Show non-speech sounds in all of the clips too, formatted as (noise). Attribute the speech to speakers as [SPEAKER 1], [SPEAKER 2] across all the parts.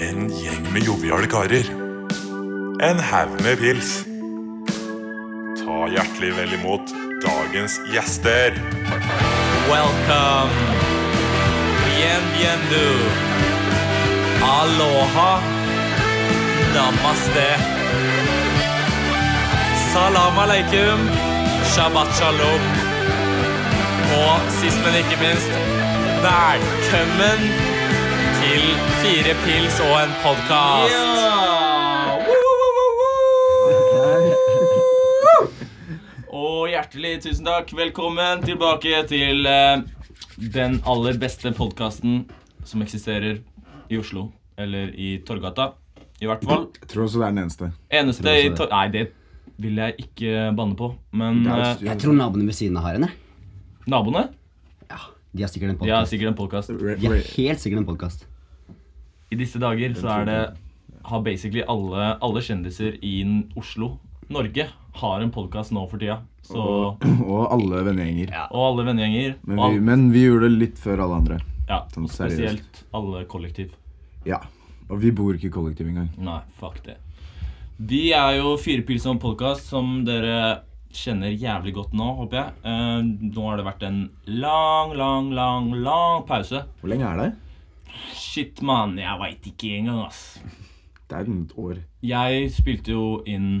[SPEAKER 1] En gjeng med joviale karer. En haug med pils. Ta hjertelig vel imot dagens gjester.
[SPEAKER 2] Welcome. Bienvenue. Aloha. Namaste. Salam aleikum. Shabbat shalom. Og sist, men ikke minst, velkommen til Fire pils og en podkast. Og hjertelig tusen takk. Velkommen tilbake til eh, den aller beste podkasten som eksisterer i Oslo. Eller i Torgata, i hvert fall.
[SPEAKER 3] Jeg tror også det er den eneste.
[SPEAKER 2] Eneste i Tor... Nei, det vil jeg ikke banne på. Men eh,
[SPEAKER 4] Jeg
[SPEAKER 3] sånn-
[SPEAKER 4] tror naboene ved siden av har en, jeg.
[SPEAKER 2] naboene
[SPEAKER 4] Ja, de har sikkert en
[SPEAKER 2] De har
[SPEAKER 4] podcast.
[SPEAKER 2] sikkert en podkast.
[SPEAKER 4] De har helt sikkert en podcast.
[SPEAKER 2] I disse dager så er det Har basically alle, alle kjendiser i n- Oslo, Norge, har en podkast nå for tida. Så, og
[SPEAKER 3] Og alle vennegjenger.
[SPEAKER 2] alle vennegjenger.
[SPEAKER 3] Men,
[SPEAKER 2] og
[SPEAKER 3] vi-
[SPEAKER 2] al-
[SPEAKER 3] men vi gjorde det litt før alle andre.
[SPEAKER 2] ja,
[SPEAKER 3] sånn
[SPEAKER 2] og
[SPEAKER 3] seriøst.
[SPEAKER 2] spesielt alle kollektiv.
[SPEAKER 3] Ja. Og vi bor ikke i kollektiv engang.
[SPEAKER 2] Nei, fuck det. Vi er jo Firepils som podkast, som dere kjenner jævlig godt nå, håper jeg. Eh, nå har det vært en lang, lang, lang, lang pause.
[SPEAKER 3] Hvor lenge er det?
[SPEAKER 2] Shit, mann, jeg veit ikke engang, ass.
[SPEAKER 3] Det er et år.
[SPEAKER 2] Jeg spilte jo inn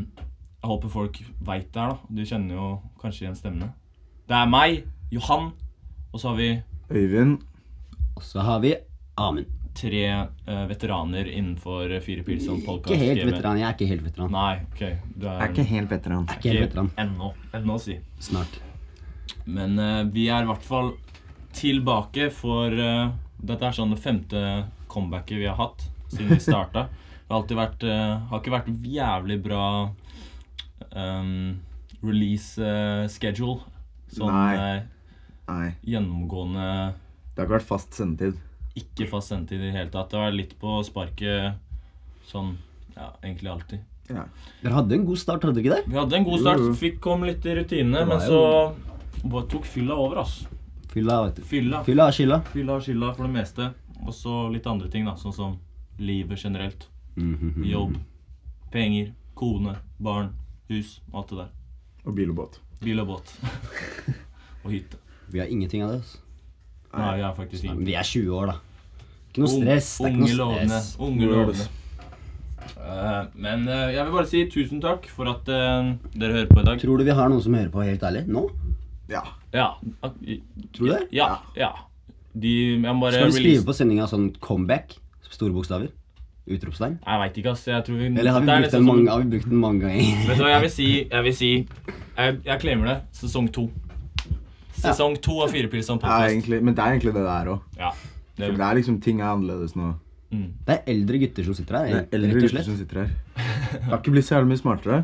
[SPEAKER 2] Jeg håper folk veit det her, da. Du kjenner jo kanskje igjen stemmene. Det er meg, Johan, og så har vi
[SPEAKER 3] Øyvind
[SPEAKER 4] Og så har vi Amund.
[SPEAKER 2] tre eh, veteraner innenfor Firepils som podkast.
[SPEAKER 4] Ikke helt veteran. Jeg er ikke helt veteran.
[SPEAKER 2] Nei, OK. Du er,
[SPEAKER 3] helt veteran.
[SPEAKER 4] Jeg er ikke helt veteran.
[SPEAKER 2] Ennå. Ennå, si.
[SPEAKER 4] Snart.
[SPEAKER 2] Men eh, vi er i hvert fall tilbake for eh, Dette er sånn det femte comebacket vi har hatt siden vi starta. Det har alltid vært eh, Har ikke vært jævlig bra ehm, release eh, schedule. Sånn
[SPEAKER 3] Nei.
[SPEAKER 2] eh,
[SPEAKER 3] Nei.
[SPEAKER 2] gjennomgående
[SPEAKER 3] Det har ikke vært fast sendetid.
[SPEAKER 2] ikke fast sendetid i det hele tatt. Det har vært litt på sparket sånn ja, egentlig alltid.
[SPEAKER 3] Ja.
[SPEAKER 4] Dere hadde en god start, hadde dere ikke det?
[SPEAKER 2] Vi hadde en god start,
[SPEAKER 3] Jo, jo.
[SPEAKER 2] fikk kom litt i rutinene, men så
[SPEAKER 4] jo-
[SPEAKER 2] bare tok fylla over, ass.
[SPEAKER 4] Fylla, vet du.
[SPEAKER 2] Fylla.
[SPEAKER 4] Fylla og skylda.
[SPEAKER 2] Fylla og skylda for det meste. Og så litt andre ting, da. Sånn som livet generelt.
[SPEAKER 4] Mhm,
[SPEAKER 2] Jobb, penger, kone, barn, hus. Alt det der.
[SPEAKER 3] Og bil og båt.
[SPEAKER 2] Bil og båt. (laughs) og hytte.
[SPEAKER 4] Vi har ingenting av det. ass.
[SPEAKER 2] Nei, jeg er faktisk
[SPEAKER 4] Nei,
[SPEAKER 2] ikke
[SPEAKER 4] men Vi er 20 år, da. Ikke noe stress. Det er
[SPEAKER 2] Unge
[SPEAKER 4] ikke noe
[SPEAKER 2] lovende.
[SPEAKER 4] stress.
[SPEAKER 2] Unge lovende. Eh, men eh, jeg vil bare si tusen takk for at eh, dere hører på i dag.
[SPEAKER 4] Tror du vi har noen som hører på, helt ærlig? Nå?
[SPEAKER 3] Ja.
[SPEAKER 2] Ja. ak- i-
[SPEAKER 4] Tror du det?
[SPEAKER 2] Ja. ja. De, jeg må bare
[SPEAKER 4] Skal vi
[SPEAKER 2] release-
[SPEAKER 4] skrive på sendinga sånn comeback? Store bokstaver? Utropstegn?
[SPEAKER 2] Jeg veit ikke, ass. Jeg tror vi
[SPEAKER 4] Eller har vi,
[SPEAKER 2] Det er liksom sånn- nesten
[SPEAKER 4] brukt
[SPEAKER 2] som-
[SPEAKER 4] den mange, har vi brukt den mange ganger? (laughs)
[SPEAKER 2] Vet du hva, jeg vil si Jeg vil si Jeg, jeg claimer det. Sesong to. Sesong to av Firepils som
[SPEAKER 3] ja
[SPEAKER 2] podkast.
[SPEAKER 3] egentlig, men det er egentlig det det er òg.
[SPEAKER 2] Ja. Det,
[SPEAKER 3] Det er liksom ting er annerledes nå.
[SPEAKER 4] Det er eldre gutter som sitter her.
[SPEAKER 3] Det er
[SPEAKER 4] rett
[SPEAKER 3] eldre
[SPEAKER 4] og
[SPEAKER 3] gutter
[SPEAKER 4] slett.
[SPEAKER 3] som sitter her. Jeg har ikke blitt så jævlig mye smartere.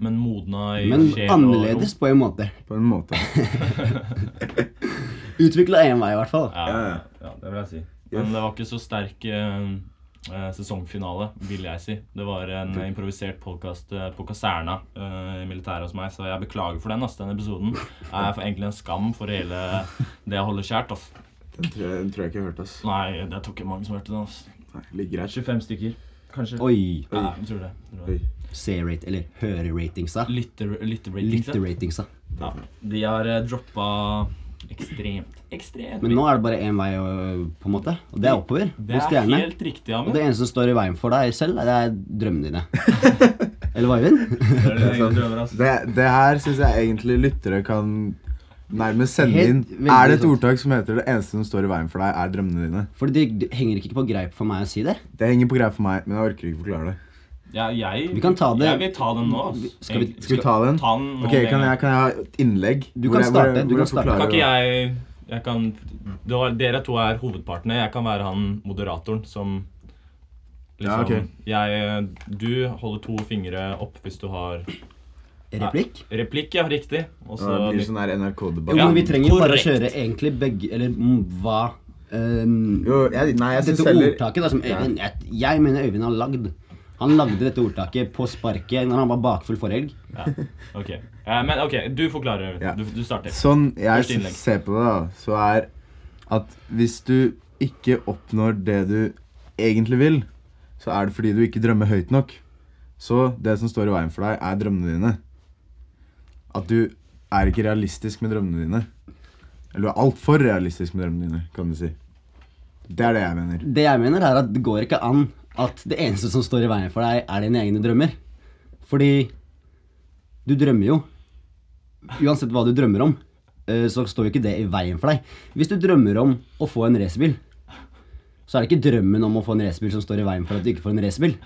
[SPEAKER 2] men modna i
[SPEAKER 4] Men
[SPEAKER 2] sjel og
[SPEAKER 4] annerledes på en måte.
[SPEAKER 3] På en måte.
[SPEAKER 4] Utvikla én vei, i hvert fall.
[SPEAKER 2] ro. Ja, ja, det vil jeg si. Men det var ikke så sterk eh, eh, sesongfinale, vil jeg si. Det var en improvisert podkast på kaserna eh, i militæret hos meg, så jeg beklager for den. ass. Den episoden er for egentlig en skam for hele det jeg holder kjært. ass.
[SPEAKER 3] Den tror jeg, den tror jeg ikke jeg hørte. ass.
[SPEAKER 2] Nei, det tror ikke mange som hørte den. ass.
[SPEAKER 3] Nei, Ligger her.
[SPEAKER 2] 25 stykker, kanskje.
[SPEAKER 4] Oi.
[SPEAKER 2] Ja, jeg tror det. Jeg tror det.
[SPEAKER 3] Oi.
[SPEAKER 4] Se-rate, eller høre-ratingsa.
[SPEAKER 2] Lytter, lytterratingsa.
[SPEAKER 4] Lytte-ratingsa.
[SPEAKER 2] Ja, de har eh, droppa ekstremt. Ekstremt.
[SPEAKER 4] Men nå er det bare én vei, øh, på en måte. Og det er oppover.
[SPEAKER 2] det
[SPEAKER 4] Mot
[SPEAKER 2] er
[SPEAKER 4] stjernene.
[SPEAKER 2] helt riktig,
[SPEAKER 4] Og
[SPEAKER 2] Amund.
[SPEAKER 4] det
[SPEAKER 2] Det
[SPEAKER 4] eneste som står i veien for deg selv, det er
[SPEAKER 2] (laughs)
[SPEAKER 4] drømmene dine. Eller hva, (laughs) Eivind?
[SPEAKER 2] er det jeg drømmer, altså.
[SPEAKER 3] Det, det her syns jeg egentlig lyttere kan nærmest sende inn.
[SPEAKER 4] Helt veldig
[SPEAKER 3] Er det et
[SPEAKER 4] sant.
[SPEAKER 3] ordtak som heter 'det eneste som står i veien for deg, er drømmene dine'?
[SPEAKER 4] For det det henger ikke på greip for meg å si det.
[SPEAKER 3] Det henger på greia for meg, men jeg orker ikke forklare det.
[SPEAKER 2] Ja, jeg,
[SPEAKER 4] Vi kan ta det-
[SPEAKER 2] Jeg vil ta den nå. ass.
[SPEAKER 4] Skal vi-
[SPEAKER 2] Egentlig.
[SPEAKER 3] Skal vi ta den?
[SPEAKER 2] Ta den nå
[SPEAKER 3] Ok,
[SPEAKER 2] med en
[SPEAKER 3] Kan
[SPEAKER 2] gang.
[SPEAKER 3] jeg, kan jeg ha et innlegg?
[SPEAKER 4] Du
[SPEAKER 3] Hvor jeg-
[SPEAKER 4] kan
[SPEAKER 3] hvor jeg-
[SPEAKER 4] starte,
[SPEAKER 3] hvor
[SPEAKER 4] du kan
[SPEAKER 3] jeg
[SPEAKER 4] starte.
[SPEAKER 3] forklarer
[SPEAKER 2] Kan
[SPEAKER 3] det?
[SPEAKER 2] ikke jeg, jeg kan, det var, Dere to er hovedpartene. Jeg kan være han moderatoren som liksom-
[SPEAKER 3] Ja, ok.
[SPEAKER 2] jeg, eh, Du holder to fingre opp hvis du har
[SPEAKER 4] Replikk?
[SPEAKER 2] replikk, ja. Riktig. Og
[SPEAKER 3] Ja,
[SPEAKER 2] så
[SPEAKER 3] Det blir
[SPEAKER 2] litt-
[SPEAKER 3] sånn her NRK-debatt.
[SPEAKER 4] Jo, men vi trenger jo bare å
[SPEAKER 2] korrekt.
[SPEAKER 4] kjøre egentlig begge Eller mm, hva øhm,
[SPEAKER 3] Jo, jeg, nei, jeg
[SPEAKER 4] Dette
[SPEAKER 3] synes heller
[SPEAKER 4] ordtaket da, som Øyvind jeg, jeg mener Øyvind har lagd. Han lagde dette ordtaket på sparket når han var bakfull forrige helg.
[SPEAKER 2] ja. Ok. Eh, Men OK, du forklarer.
[SPEAKER 3] Ja.
[SPEAKER 2] Du, du starter.
[SPEAKER 3] Sånn jeg
[SPEAKER 2] Første innlegg.
[SPEAKER 3] s- ser på det, da, så er at hvis du ikke oppnår det du egentlig vil, så er det fordi du ikke drømmer høyt nok. Så det som står i veien for deg, er drømmene dine. At du er ikke realistisk med drømmene dine. Eller du er altfor realistisk med drømmene dine, kan du si. Det er det jeg mener.
[SPEAKER 4] Det jeg mener er at det går ikke an at det eneste som står i veien for deg, er dine egne drømmer. Fordi du drømmer jo. Uansett hva du drømmer om, eh, så står jo ikke det i veien for deg. Hvis du drømmer om å få en racerbil, så er det ikke drømmen om å få en racerbil som står i veien for at du ikke får en racerbil.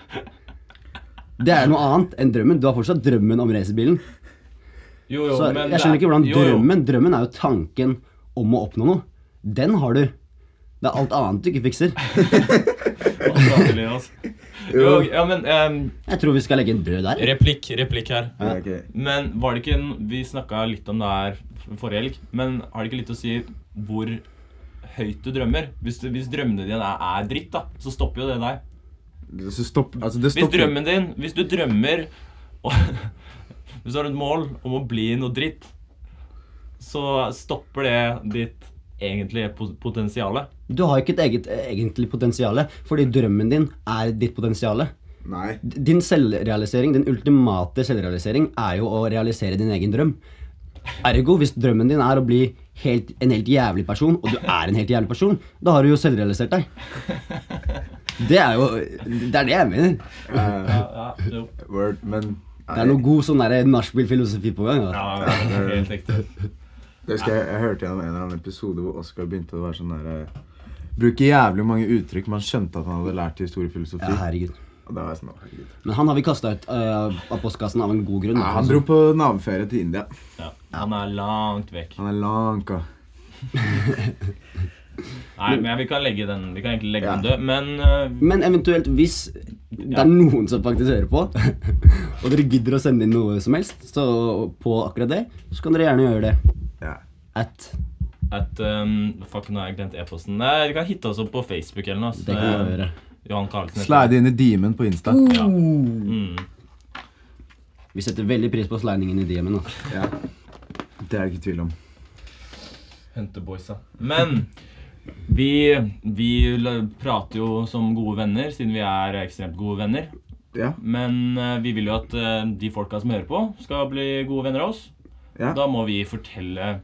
[SPEAKER 4] Det er noe annet enn drømmen. Du har fortsatt drømmen om racerbilen.
[SPEAKER 2] Jo, jo,
[SPEAKER 4] Så
[SPEAKER 2] men
[SPEAKER 4] jeg skjønner ikke hvordan
[SPEAKER 2] jo, jo.
[SPEAKER 4] drømmen Drømmen er jo tanken om å oppnå noe. Den har du. Det er alt annet du ikke fikser.
[SPEAKER 2] Å, satelig, altså. jo, ja, men em,
[SPEAKER 4] Jeg tror vi skal legge en død der.
[SPEAKER 2] Replikk, replikk her.
[SPEAKER 3] Ja, ok.
[SPEAKER 2] Men var det ikke en, Vi snakka litt om det her forrige helg, men har det ikke litt å si hvor høyt du drømmer? Hvis, du, hvis drømmene dine er, er dritt, da, så stopper jo det deg.
[SPEAKER 3] Så stopp, altså det
[SPEAKER 2] Hvis
[SPEAKER 3] stopper.
[SPEAKER 2] drømmen din Hvis du drømmer og, (laughs) Hvis du har et mål om å bli noe dritt, så stopper det ditt egentlige po- potensiale.
[SPEAKER 4] Du har ikke et eget eh, egentlig potensiale, fordi drømmen din er ditt potensiale.
[SPEAKER 3] Nei.
[SPEAKER 4] D- Din selvrealisering, din ultimate selvrealisering, er jo å realisere din egen drøm. Ergo, hvis drømmen din er å bli helt, en helt jævlig person, og du er en helt jævlig person, da har du jo selvrealisert deg. Det er jo Det er det jeg mener.
[SPEAKER 3] Eh,
[SPEAKER 2] Ja, jo.
[SPEAKER 3] word, men
[SPEAKER 4] Det er noe god sånn der nachspiel-filosofi på gang. altså. Da.
[SPEAKER 2] Ja, helt riktig.
[SPEAKER 3] Jeg husker jeg, jeg hørte gjennom en eller annen episode hvor Oskar begynte å være sånn der eh, Bruke jævlig mange uttrykk man skjønte at han hadde lært i historiefilosofi.
[SPEAKER 4] Ja, herregud.
[SPEAKER 3] og da var jeg sånn, «Å, herregud.
[SPEAKER 4] Men han har vi kasta ut eh, av postkassen av en god grunn.
[SPEAKER 3] Nei, han dro på naboferie til India.
[SPEAKER 2] Ja. Han er langt vekk.
[SPEAKER 3] Han er langt av.
[SPEAKER 2] Nei, men vi kan legge den Vi kan egentlig legge
[SPEAKER 3] Ja.
[SPEAKER 2] den død, men øh,
[SPEAKER 4] Men eventuelt, hvis det er noen som faktisk hører på, (laughs) og dere gidder å sende inn noe som helst så på akkurat det, så kan dere gjerne gjøre det.
[SPEAKER 3] Ja.
[SPEAKER 4] At
[SPEAKER 2] At um, Fuck, nå har jeg glemt e-posten. Nei, Dere kan hitte oss opp på Facebook eller noe. så
[SPEAKER 4] det kan dere gjøre.
[SPEAKER 2] Johan Karlsen. heter
[SPEAKER 3] Slide inn i Demon på Insta.
[SPEAKER 2] det. Mm.
[SPEAKER 4] Vi setter veldig pris på slidingen i DM-en. da.
[SPEAKER 3] Ja. Det er det ikke tvil om.
[SPEAKER 2] Hente boysa. Men vi, vi la- prater jo som gode venner, siden vi er ekstremt gode venner.
[SPEAKER 3] Ja.
[SPEAKER 2] Men eh, vi vil jo at eh, de folka som hører på, skal bli gode venner av oss.
[SPEAKER 3] Ja.
[SPEAKER 2] Da må vi fortelle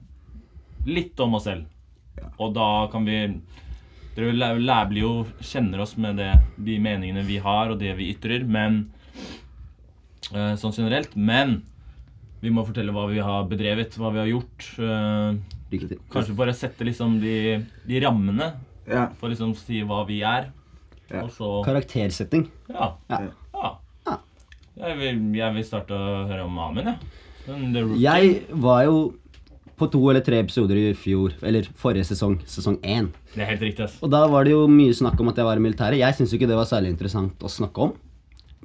[SPEAKER 2] litt om oss selv. Og da kan vi Dere læ- læ- blir jo kjenner oss med det, de meningene vi har, og det vi ytrer, men eh, Sånn generelt. Men vi må fortelle hva vi har bedrevet, hva vi har gjort. eh,
[SPEAKER 4] Riktig.
[SPEAKER 2] Kanskje bare sette liksom de, de rammene
[SPEAKER 3] ja.
[SPEAKER 2] for liksom å si hva vi er.
[SPEAKER 3] Ja.
[SPEAKER 2] Og så
[SPEAKER 4] Karaktersetting.
[SPEAKER 2] ja.
[SPEAKER 4] Ja.
[SPEAKER 2] ja.
[SPEAKER 4] Ja.
[SPEAKER 2] Jeg, vil, jeg vil starte å høre om Amund, jeg. Den- the rookie.
[SPEAKER 4] Jeg var jo på to eller tre episoder i fjor, eller forrige sesong, sesong én.
[SPEAKER 2] Det er helt riktig, ass.
[SPEAKER 4] Og da var det jo mye snakk om at jeg var i militæret. Jeg syns ikke det var særlig interessant å snakke om.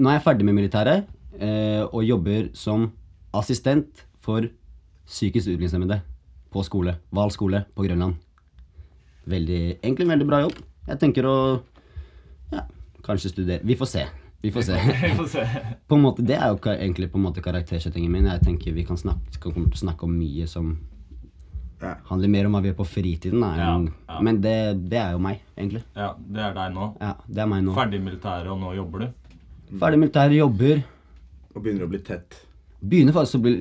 [SPEAKER 4] Nå er jeg ferdig med militæret eh, og jobber som assistent for psykisk utviklingshemmede på skole. Hval skole på Grønland. Veldig, egentlig en veldig bra jobb. Jeg tenker å ja, kanskje studere Vi får se. Vi får se. (laughs)
[SPEAKER 2] Vi får se.
[SPEAKER 4] på en måte, det er jo ka- egentlig på en måte karaktersettingen min. Jeg tenker Vi kan snakke, kan komme til å snakke om mye som
[SPEAKER 3] Ja.
[SPEAKER 4] handler mer om hva vi gjør på fritiden. Da,
[SPEAKER 2] Ja,
[SPEAKER 4] enn-
[SPEAKER 2] ja.
[SPEAKER 4] Men det, det er jo meg, egentlig.
[SPEAKER 2] Ja, det er deg nå.
[SPEAKER 4] Ja, det er meg nå.
[SPEAKER 2] Ferdig i militæret, og nå jobber du.
[SPEAKER 4] Ferdig militær, jobber.
[SPEAKER 3] Og begynner å bli tett.
[SPEAKER 4] Begynner faktisk å bli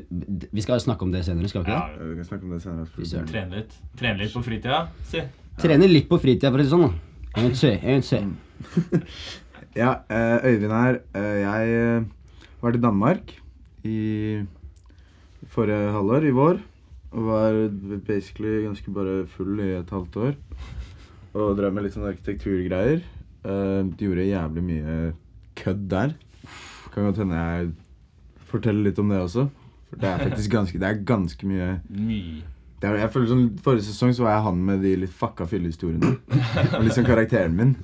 [SPEAKER 4] Vi skal snakke om det senere, skal vi ikke det?
[SPEAKER 3] Ja, Eh, Vi kan snakke om det senere.
[SPEAKER 2] Trene litt. Trene litt på fritida, si.
[SPEAKER 4] Trener litt på fritida, for å si det sånn. da. En, tø, en, tø.
[SPEAKER 3] Mm. Ja, eh, Øyvind her. Eh, Jeg eh, var til Danmark i forrige halvår, i vår. Og var basically ganske bare full i et halvt år. Og drev med litt sånn arkitekturgreier. Eh, Gjorde jævlig mye kødd der. Kan godt hende jeg forteller litt om det også. For det er faktisk ganske, det er ganske mye
[SPEAKER 2] Mye.
[SPEAKER 3] det er, jeg føler som Forrige sesong så var jeg han med de litt fucka fyllehistoriene. Og liksom karakteren min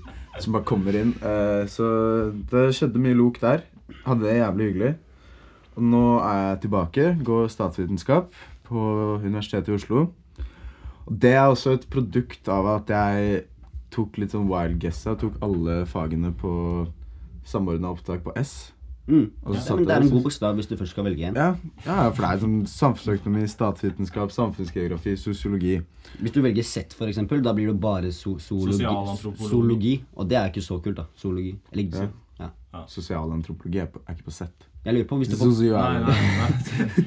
[SPEAKER 3] som bare kommer inn. Eh, så det skjedde mye lok der. Hadde det jævlig hyggelig. Og nå er jeg tilbake. Går statsvitenskap på Universitetet i Oslo. Og det er også et produkt av at jeg tok litt sånn wild guessa. Tok alle fagene på samordna opptak på S.
[SPEAKER 4] Mm.
[SPEAKER 3] Og så
[SPEAKER 4] Ja, men
[SPEAKER 3] satt
[SPEAKER 4] det er
[SPEAKER 3] jeg
[SPEAKER 4] en god bokstav hvis du først skal velge en.
[SPEAKER 3] ja, ja, for det er sånn samfunnsøkonomi, statsvitenskap, samfunnsgeografi, sosiologi.
[SPEAKER 4] Hvis du velger Z, for eksempel, da blir det bare so zoologi,
[SPEAKER 2] Sosialantropologi.
[SPEAKER 4] zoologi. Og det er ikke så kult, da. Zoologi. Eller ikke
[SPEAKER 3] Ja.
[SPEAKER 4] så-
[SPEAKER 2] Ja.
[SPEAKER 3] Sosialantropologi er, på- er ikke på sett.
[SPEAKER 4] Jeg lurer på hvis du, får,
[SPEAKER 2] Nei,
[SPEAKER 3] Sosial...
[SPEAKER 2] nei, nei.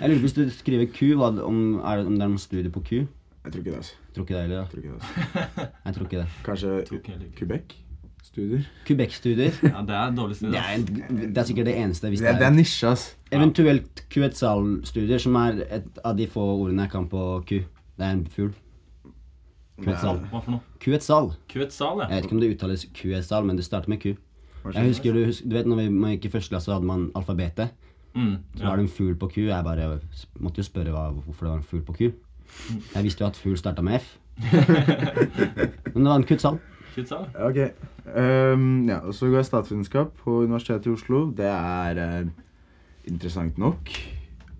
[SPEAKER 4] jeg lurer på hvis du skriver Q, hva, om, er det, om det er noen studie på Q?
[SPEAKER 3] Jeg tror ikke det, altså.
[SPEAKER 4] Jeg tror ikke det heller.
[SPEAKER 3] Jeg
[SPEAKER 4] da.
[SPEAKER 3] tror ikke det, altså.
[SPEAKER 4] Jeg tror ikke
[SPEAKER 2] Tror
[SPEAKER 4] det.
[SPEAKER 2] ikke heller
[SPEAKER 3] Kanskje
[SPEAKER 2] ikke.
[SPEAKER 3] Quebec? Studier? (laughs)
[SPEAKER 4] Quebec-studier.
[SPEAKER 2] Ja, det er et dårlig sted.
[SPEAKER 4] Det er,
[SPEAKER 2] ass.
[SPEAKER 4] en, det er sikkert det eneste. Hvis
[SPEAKER 3] Det, det er nisje, ass.
[SPEAKER 4] Eventuelt Quetzal-studier, som er et av de få ordene jeg kan på Q. Det er en fugl. Quetzal.
[SPEAKER 2] Hva for noe?
[SPEAKER 4] Quetzal.
[SPEAKER 2] Kuetzal,
[SPEAKER 4] Jeg
[SPEAKER 2] ja.
[SPEAKER 4] vet ikke om det uttales Quetzal, men det starter med Q.
[SPEAKER 3] Hva
[SPEAKER 4] Jeg husker, du, husker, du vet, når vi, man gikk i første klasse, hadde man alfabetet.
[SPEAKER 2] Mm,
[SPEAKER 4] Så
[SPEAKER 2] ja.
[SPEAKER 4] var det en fugl på Q. Jeg bare måtte jo spørre hva, hvorfor det var en fugl på Q.
[SPEAKER 2] Mm.
[SPEAKER 4] Jeg visste jo at fugl starta
[SPEAKER 2] (laughs)
[SPEAKER 4] med F. Men det var en Quetzal.
[SPEAKER 2] Kuetzal, ja.
[SPEAKER 3] Ja, Ok. Ehm, ja, og så går jeg statsvitenskap på Universitetet i Oslo. Det er eh, interessant nok.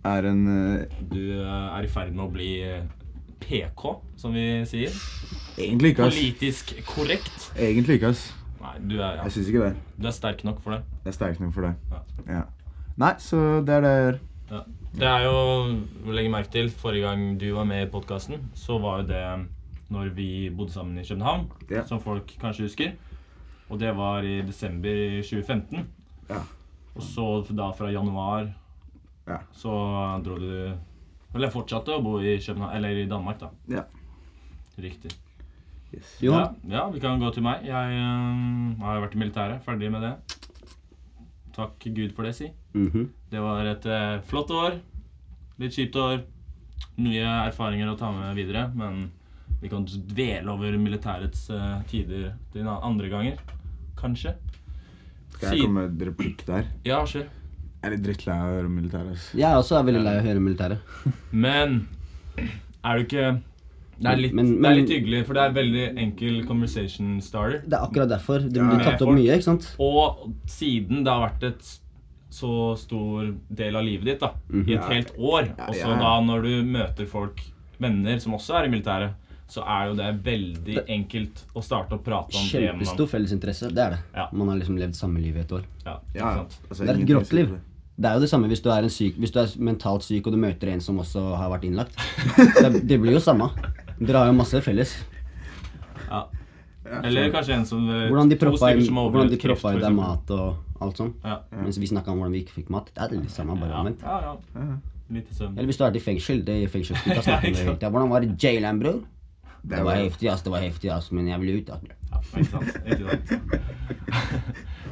[SPEAKER 3] Er en eh,
[SPEAKER 2] Du eh, er i ferd med å bli eh, PK, som vi sier.
[SPEAKER 3] Egentlig ikke, ass.
[SPEAKER 2] Politisk korrekt.
[SPEAKER 3] Egentlig ikke, ass.
[SPEAKER 2] Nei, du er, ja.
[SPEAKER 3] Jeg syns ikke det.
[SPEAKER 2] du er sterk nok for det.
[SPEAKER 3] Jeg er sterk nok for det.
[SPEAKER 2] Ja.
[SPEAKER 3] Ja. Nei, så det er det jeg gjør.
[SPEAKER 2] Ja. Det er jo, legg merke til, forrige gang du var med i podkasten, så var jo det når vi bodde sammen i København,
[SPEAKER 3] Ja.
[SPEAKER 2] som folk kanskje husker. Og det var i desember i 2015.
[SPEAKER 3] Ja.
[SPEAKER 2] Og så da fra januar
[SPEAKER 3] Ja.
[SPEAKER 2] så dro du Eller fortsatte å bo i København, eller i Danmark, da.
[SPEAKER 3] Ja.
[SPEAKER 2] Riktig.
[SPEAKER 3] Yes.
[SPEAKER 2] Ja,
[SPEAKER 4] Johan,
[SPEAKER 2] ja, vi kan gå til meg. Jeg øhm, har vært i militæret, ferdig med det. Takk Gud for det, si.
[SPEAKER 4] Mhm.
[SPEAKER 2] Det var et eh, flott år. Litt kjipt år. Nye erfaringer å ta med videre, men vi kan dvele over militærets eh, tider de na- andre ganger. Kanskje.
[SPEAKER 3] Skal jeg komme med et replikk der?
[SPEAKER 2] Ja, kjør.
[SPEAKER 3] Jeg er litt drittlei av å høre militæret, ass.
[SPEAKER 4] jeg også er veldig lei av å høre militæret.
[SPEAKER 2] Men er du ikke Det er litt,
[SPEAKER 4] Men-
[SPEAKER 2] det er
[SPEAKER 4] men-
[SPEAKER 2] litt hyggelig, for det er veldig enkel conversation starter.
[SPEAKER 4] Det er akkurat derfor. Det
[SPEAKER 2] Ja,
[SPEAKER 4] blir
[SPEAKER 2] ja.
[SPEAKER 4] tatt opp mye, ikke sant?
[SPEAKER 2] Og siden det har vært et så stor del av livet ditt, da, i et helt år,
[SPEAKER 3] Ja,
[SPEAKER 2] og så
[SPEAKER 3] ja.
[SPEAKER 2] da når du møter folk, venner som også er i militæret, så er jo det veldig enkelt å starte å prate om det man
[SPEAKER 4] Kjempestor fellesinteresse. Det er det.
[SPEAKER 2] Ja.
[SPEAKER 4] Man har liksom levd samme liv i et år.
[SPEAKER 2] Ja, ikke
[SPEAKER 3] Ja,
[SPEAKER 2] sant?
[SPEAKER 3] altså,
[SPEAKER 4] Det er et
[SPEAKER 3] ingenting å
[SPEAKER 4] grått
[SPEAKER 3] si
[SPEAKER 4] liv.
[SPEAKER 3] på det.
[SPEAKER 4] Det er jo det samme hvis du er, en syk, hvis du er mentalt syk og du møter en som også har vært innlagt. Det, det blir jo samme. Dere har jo masse felles.
[SPEAKER 2] Ja. Eller kanskje en som eh,
[SPEAKER 4] Hvordan de
[SPEAKER 2] to
[SPEAKER 4] proppa i
[SPEAKER 2] stykker som har
[SPEAKER 4] hvordan de
[SPEAKER 2] overlevd kreft,
[SPEAKER 4] proppa
[SPEAKER 2] for
[SPEAKER 4] i deg
[SPEAKER 2] eksempel.
[SPEAKER 4] mat og alt sånn.
[SPEAKER 2] Ja.
[SPEAKER 4] Mens vi snakka om hvordan vi ikke fikk mat. Det er det samme, bare
[SPEAKER 2] Ja,
[SPEAKER 4] omvendt.
[SPEAKER 2] ja, ja. Litt i søvn.
[SPEAKER 4] Eller hvis du har vært i fengsel. det er
[SPEAKER 2] (laughs)
[SPEAKER 4] fengselsgutta snakker om det hele tiden. Hvordan var det i jailen, bror? Det var heftig, ass. Det var heftig, ass. Men jeg ville ut. ass.
[SPEAKER 2] Ja, ikke sant. Ikke sant.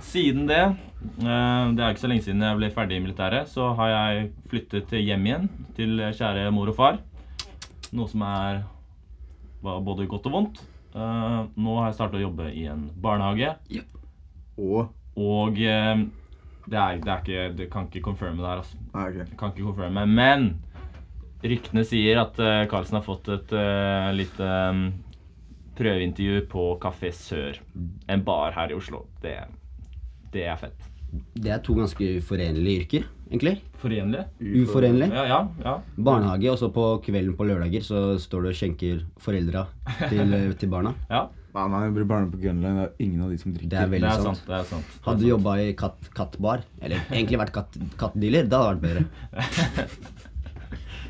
[SPEAKER 2] Siden det eh, Det er ikke så lenge siden jeg ble ferdig i militæret, så har jeg flyttet hjem igjen til kjære mor og far. Noe som er var både godt og vondt. Eh, Nå har jeg startet å jobbe i en barnehage,
[SPEAKER 3] Og
[SPEAKER 2] og eh, det, er, det er ikke Det kan ikke confirme det her, altså.
[SPEAKER 3] Nei, ok.
[SPEAKER 2] Jeg kan ikke konfirmere, men ryktene sier at eh, Carlsen har fått et eh, lite mm, prøveintervju på Café Sør. En bar her i Oslo. Det, det er fett.
[SPEAKER 4] Det er to ganske uforenlige yrker, egentlig.
[SPEAKER 2] Forenlig?
[SPEAKER 4] Uforenlig.
[SPEAKER 2] Ja, ja. ja.
[SPEAKER 4] Barnehage, og så på kvelden på lørdager så står du og skjenker foreldra til, til barna.
[SPEAKER 2] ja.
[SPEAKER 3] Nei, nei, jeg blir barne på Grønland. Det er ingen av de som drikker.
[SPEAKER 4] Det er
[SPEAKER 2] Det
[SPEAKER 4] veldig
[SPEAKER 2] er
[SPEAKER 4] sant.
[SPEAKER 2] sant. Det er sant.
[SPEAKER 4] Hadde du jobba i katt, kattbar, eller egentlig vært katt, kattdealer, det hadde vært bedre.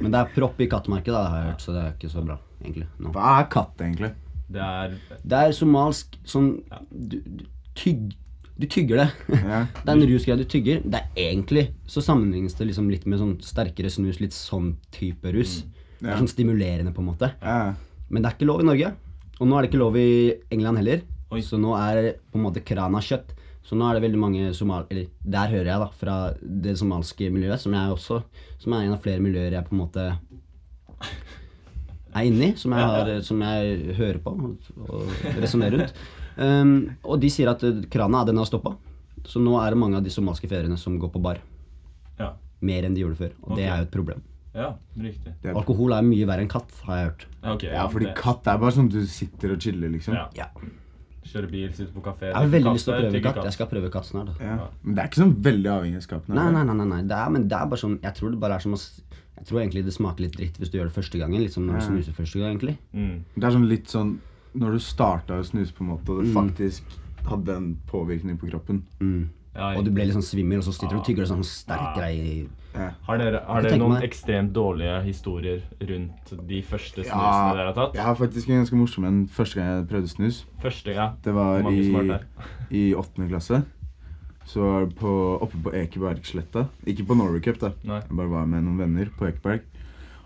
[SPEAKER 4] Men det er propp i kattemarkedet, da, har jeg hørt, så det er ikke så bra, egentlig. nå.
[SPEAKER 3] Hva er katt, egentlig?
[SPEAKER 2] (laughs) Det er
[SPEAKER 4] Det er somalsk sånn du, du, tygg, du tygger det.
[SPEAKER 3] Ja.
[SPEAKER 4] (laughs) Det er en rusgreie du tygger. Det er egentlig Så sammenlignes det liksom litt med sånn sterkere snus, litt sånn type rus. Det
[SPEAKER 3] Ja.
[SPEAKER 4] er sånn stimulerende, på en måte.
[SPEAKER 3] Ja.
[SPEAKER 4] Men det er ikke lov i Norge. Og nå er det ikke lov i England heller.
[SPEAKER 2] Oi.
[SPEAKER 4] Så nå er på en måte krana kjøtt. Så nå er det veldig mange somal... Eller der hører jeg, da, fra det somalske miljøet, som jeg også Som er en av flere miljøer jeg på en måte er inni, som jeg, har, som jeg hører på og resonnerer rundt. Um, og de sier at eh, krana den har stoppa. Så nå er det mange av de somalske fedrene som går på bar.
[SPEAKER 2] Ja.
[SPEAKER 4] Mer enn de gjorde før. Og
[SPEAKER 2] Ok.
[SPEAKER 4] det er jo et problem.
[SPEAKER 2] ja riktig.
[SPEAKER 3] Det er-
[SPEAKER 4] Alkohol er mye verre enn katt, har jeg hørt.
[SPEAKER 2] Ja, ok.
[SPEAKER 3] ja, fordi
[SPEAKER 2] det-
[SPEAKER 3] katt er bare sånn du sitter og chiller, liksom.
[SPEAKER 2] ja.
[SPEAKER 4] Ja.
[SPEAKER 2] Kjøre bil, sitte på kafé
[SPEAKER 4] Jeg har veldig
[SPEAKER 2] drikke
[SPEAKER 4] lyst til å
[SPEAKER 2] kaffe,
[SPEAKER 4] prøve
[SPEAKER 2] tygge
[SPEAKER 4] katt. Jeg skal prøve katt snart. Da.
[SPEAKER 3] Ja. Men det er ikke sånn veldig avhengighetsskapende.
[SPEAKER 4] Nei,
[SPEAKER 3] er det?
[SPEAKER 4] nei, nei, nei, nei. Det er, men det er bare sånn Jeg tror det bare er som å s- Jeg tror egentlig det smaker litt dritt hvis du gjør det første gangen. Litt som når du snuser første gang, egentlig.
[SPEAKER 2] Mm.
[SPEAKER 3] Det er sånn litt sånn når du starta å snuse, på en måte,
[SPEAKER 4] Mm.
[SPEAKER 3] og det faktisk hadde en påvirkning på kroppen.
[SPEAKER 2] Ja,
[SPEAKER 4] Og du ble litt sånn svimmel, og så sitter du og tygger en sånn sterk greie i
[SPEAKER 3] Ja.
[SPEAKER 2] Har dere, har
[SPEAKER 4] Jeg
[SPEAKER 2] dere
[SPEAKER 4] tenker
[SPEAKER 2] noen
[SPEAKER 4] meg-
[SPEAKER 2] ekstremt dårlige historier rundt de første snusene dere har tatt?
[SPEAKER 3] jeg har faktisk en ganske morsom en første gang jeg prøvde snus.
[SPEAKER 2] Første, ja.
[SPEAKER 3] Det var
[SPEAKER 2] Mange
[SPEAKER 3] i,
[SPEAKER 2] som har vært der.
[SPEAKER 3] i åttende klasse. Så var det på, oppe på Ekebergsletta. Ikke på Norway Cup, da.
[SPEAKER 2] Nei.
[SPEAKER 3] Jeg bare var med noen venner på Ekeberg.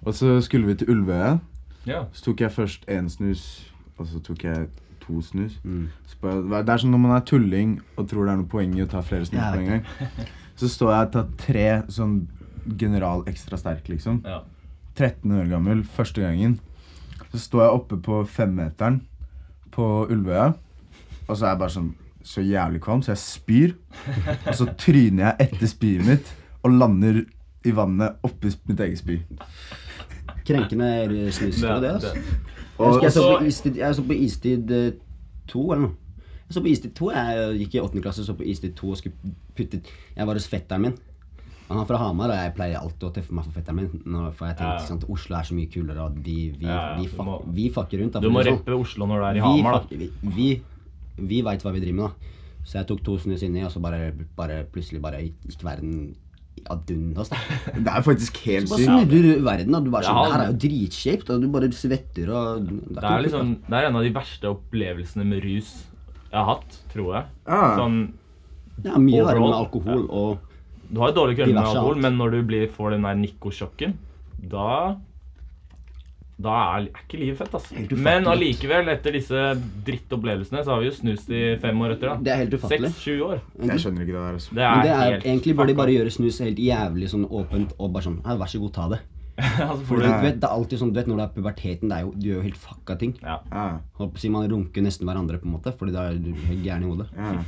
[SPEAKER 3] Og så skulle vi til Ulvøya.
[SPEAKER 2] Ja.
[SPEAKER 3] Så tok jeg først én snus, og så tok jeg to snus.
[SPEAKER 4] Mm.
[SPEAKER 3] Så bare, det er sånn når man er tulling og tror det er noe poeng i å ta flere snus
[SPEAKER 4] Ja,
[SPEAKER 3] på en gang. Så står jeg og tar tre sånn general ekstra sterk, liksom.
[SPEAKER 2] ja.
[SPEAKER 3] 13 år gammel, første gangen. Så står jeg oppe på femmeteren på Ulvøya, og så er jeg bare sånn så jævlig kvalm, så jeg spyr. Og så tryner jeg etter spyet mitt og lander i vannet oppi mitt eget spy.
[SPEAKER 4] Krenkende snus. Det,
[SPEAKER 2] Ah.
[SPEAKER 4] det, altså. Jeg
[SPEAKER 3] Og
[SPEAKER 4] husker jeg så
[SPEAKER 2] Og-
[SPEAKER 4] på Istid, jeg så på Istid 2 eller noe. Jeg så på Istid 2, jeg gikk i 8. klasse og så på Istid 2 og skulle putte Jeg var hos fetteren min. Han er fra Hamar, og jeg pleier alltid å tøffe meg for fetteren min. Nå, for jeg
[SPEAKER 2] Ja, ja.
[SPEAKER 4] tenkte, ikke sant, Oslo er så mye kulere, og de, vi,
[SPEAKER 2] Ja, ja,
[SPEAKER 4] vi,
[SPEAKER 2] du
[SPEAKER 4] fuck,
[SPEAKER 2] må-
[SPEAKER 4] vi fucker rundt. da,
[SPEAKER 2] Du
[SPEAKER 4] for å
[SPEAKER 2] må
[SPEAKER 4] si det sånn.
[SPEAKER 2] rappe Oslo når du er i Hamar,
[SPEAKER 4] fuck-
[SPEAKER 2] da.
[SPEAKER 4] Vi, vi, vi veit hva vi driver med, da. Så jeg tok to snus inni, og så bare, bare plutselig bare gikk verden ad undas, da.
[SPEAKER 3] det er faktisk helt
[SPEAKER 4] Så
[SPEAKER 3] sykt.
[SPEAKER 4] bare snudde du verden, da. Du bare sånn,
[SPEAKER 2] Ja,
[SPEAKER 4] det her er jo dritkjipt, og du bare svetter og
[SPEAKER 2] Det er, liksom, det er en av de verste opplevelsene med rus jeg har hatt, tror jeg.
[SPEAKER 3] Ja.
[SPEAKER 2] Sånn,
[SPEAKER 4] Ja, mye verre med
[SPEAKER 2] Overall,
[SPEAKER 4] alkohol og
[SPEAKER 2] du har jo dårlig kveld med
[SPEAKER 4] Diverse
[SPEAKER 2] alkohol,
[SPEAKER 4] alt.
[SPEAKER 2] men når du blir, får den der nikosjokken, da da er, er ikke livet fett,
[SPEAKER 4] Helt
[SPEAKER 2] altså.
[SPEAKER 4] ufattelig.
[SPEAKER 2] Men allikevel, etter disse drittopplevelsene, så har vi jo snust i fem år etter.
[SPEAKER 4] Det
[SPEAKER 2] da.
[SPEAKER 4] er helt ufattelig.
[SPEAKER 2] Seks, sju år.
[SPEAKER 3] Jeg skjønner ikke det der, altså.
[SPEAKER 2] Det
[SPEAKER 4] Men
[SPEAKER 2] er,
[SPEAKER 4] det er,
[SPEAKER 2] helt
[SPEAKER 4] egentlig bør de
[SPEAKER 2] fucka.
[SPEAKER 4] bare gjøre snus helt jævlig sånn åpent og bare sånn «Nei, Vær så god, ta det.
[SPEAKER 2] (laughs) altså,
[SPEAKER 4] For
[SPEAKER 2] for
[SPEAKER 4] du
[SPEAKER 2] det,
[SPEAKER 4] vet, det er alltid sånn, du vet når det er puberteten, det er jo, du gjør jo helt fucka ting.
[SPEAKER 2] ja.
[SPEAKER 3] Ja,
[SPEAKER 4] Holdt på å si man runker nesten hverandre, på en måte, fordi da er du helt gæren i hodet.
[SPEAKER 3] ja.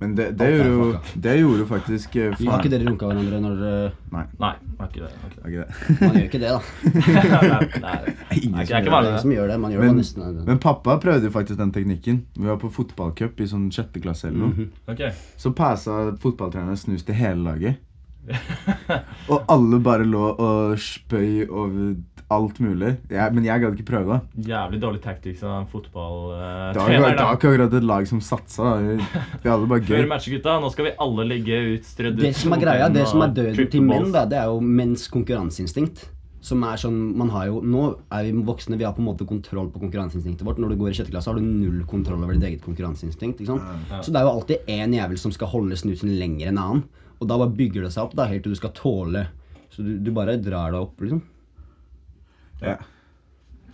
[SPEAKER 3] Men det, det,
[SPEAKER 4] Alt er
[SPEAKER 3] gjorde jo,
[SPEAKER 4] fucka.
[SPEAKER 3] det gjorde jo faktisk eh,
[SPEAKER 4] Har ikke
[SPEAKER 3] faren
[SPEAKER 4] dere runka hverandre når eh,
[SPEAKER 3] Nei,
[SPEAKER 2] Nei, det er ikke det.
[SPEAKER 4] (laughs)
[SPEAKER 2] det er Ikke det.
[SPEAKER 3] det var ikke det.
[SPEAKER 4] Man gjør ikke det, da.
[SPEAKER 2] Nei, nei, nei.
[SPEAKER 3] Ingen
[SPEAKER 2] Det er ikke- det er ikke vanlig.
[SPEAKER 3] som gjør
[SPEAKER 4] Det er ingen som gjør det. Man gjør det
[SPEAKER 3] Men,
[SPEAKER 4] nesten
[SPEAKER 3] men pappa prøvde jo faktisk den teknikken. Vi var på fotballcup i sånn sjette klasse eller noe.
[SPEAKER 4] Mhm.
[SPEAKER 2] Ok.
[SPEAKER 3] Så passa fotballtreneren snus til hele laget.
[SPEAKER 4] altså.
[SPEAKER 2] (laughs)
[SPEAKER 3] Og alle bare lå og spøy over alt mulig. Jeg, men jeg gadd ikke prøve.
[SPEAKER 2] Jævlig dårlig tactics av eh, en
[SPEAKER 3] Det var ikke-
[SPEAKER 2] fotballtrener.
[SPEAKER 3] det var ikke akkurat et lag som satsa. da. Vi,
[SPEAKER 2] (laughs)
[SPEAKER 3] vi hadde bare
[SPEAKER 2] Før
[SPEAKER 3] gøy.
[SPEAKER 2] matcher, gutta. Nå skal vi alle ligge ut, strødd ut.
[SPEAKER 4] Det som er greia, det som er døden
[SPEAKER 2] triple
[SPEAKER 4] til menn,
[SPEAKER 2] balls.
[SPEAKER 4] da, det er jo menns konkurranseinstinkt. Som er sånn, man har jo, Nå er vi voksne, vi har på en måte kontroll på konkurranseinstinktet vårt. Når du går i sjette klasse, har du null kontroll over ditt eget konkurranseinstinkt. ikke sant? Så det er jo alltid én jævel som skal holde snusen lenger enn annen. Og da bare bygger det seg opp da, helt til du skal tåle Så du, du bare drar deg opp, liksom.
[SPEAKER 3] Ja.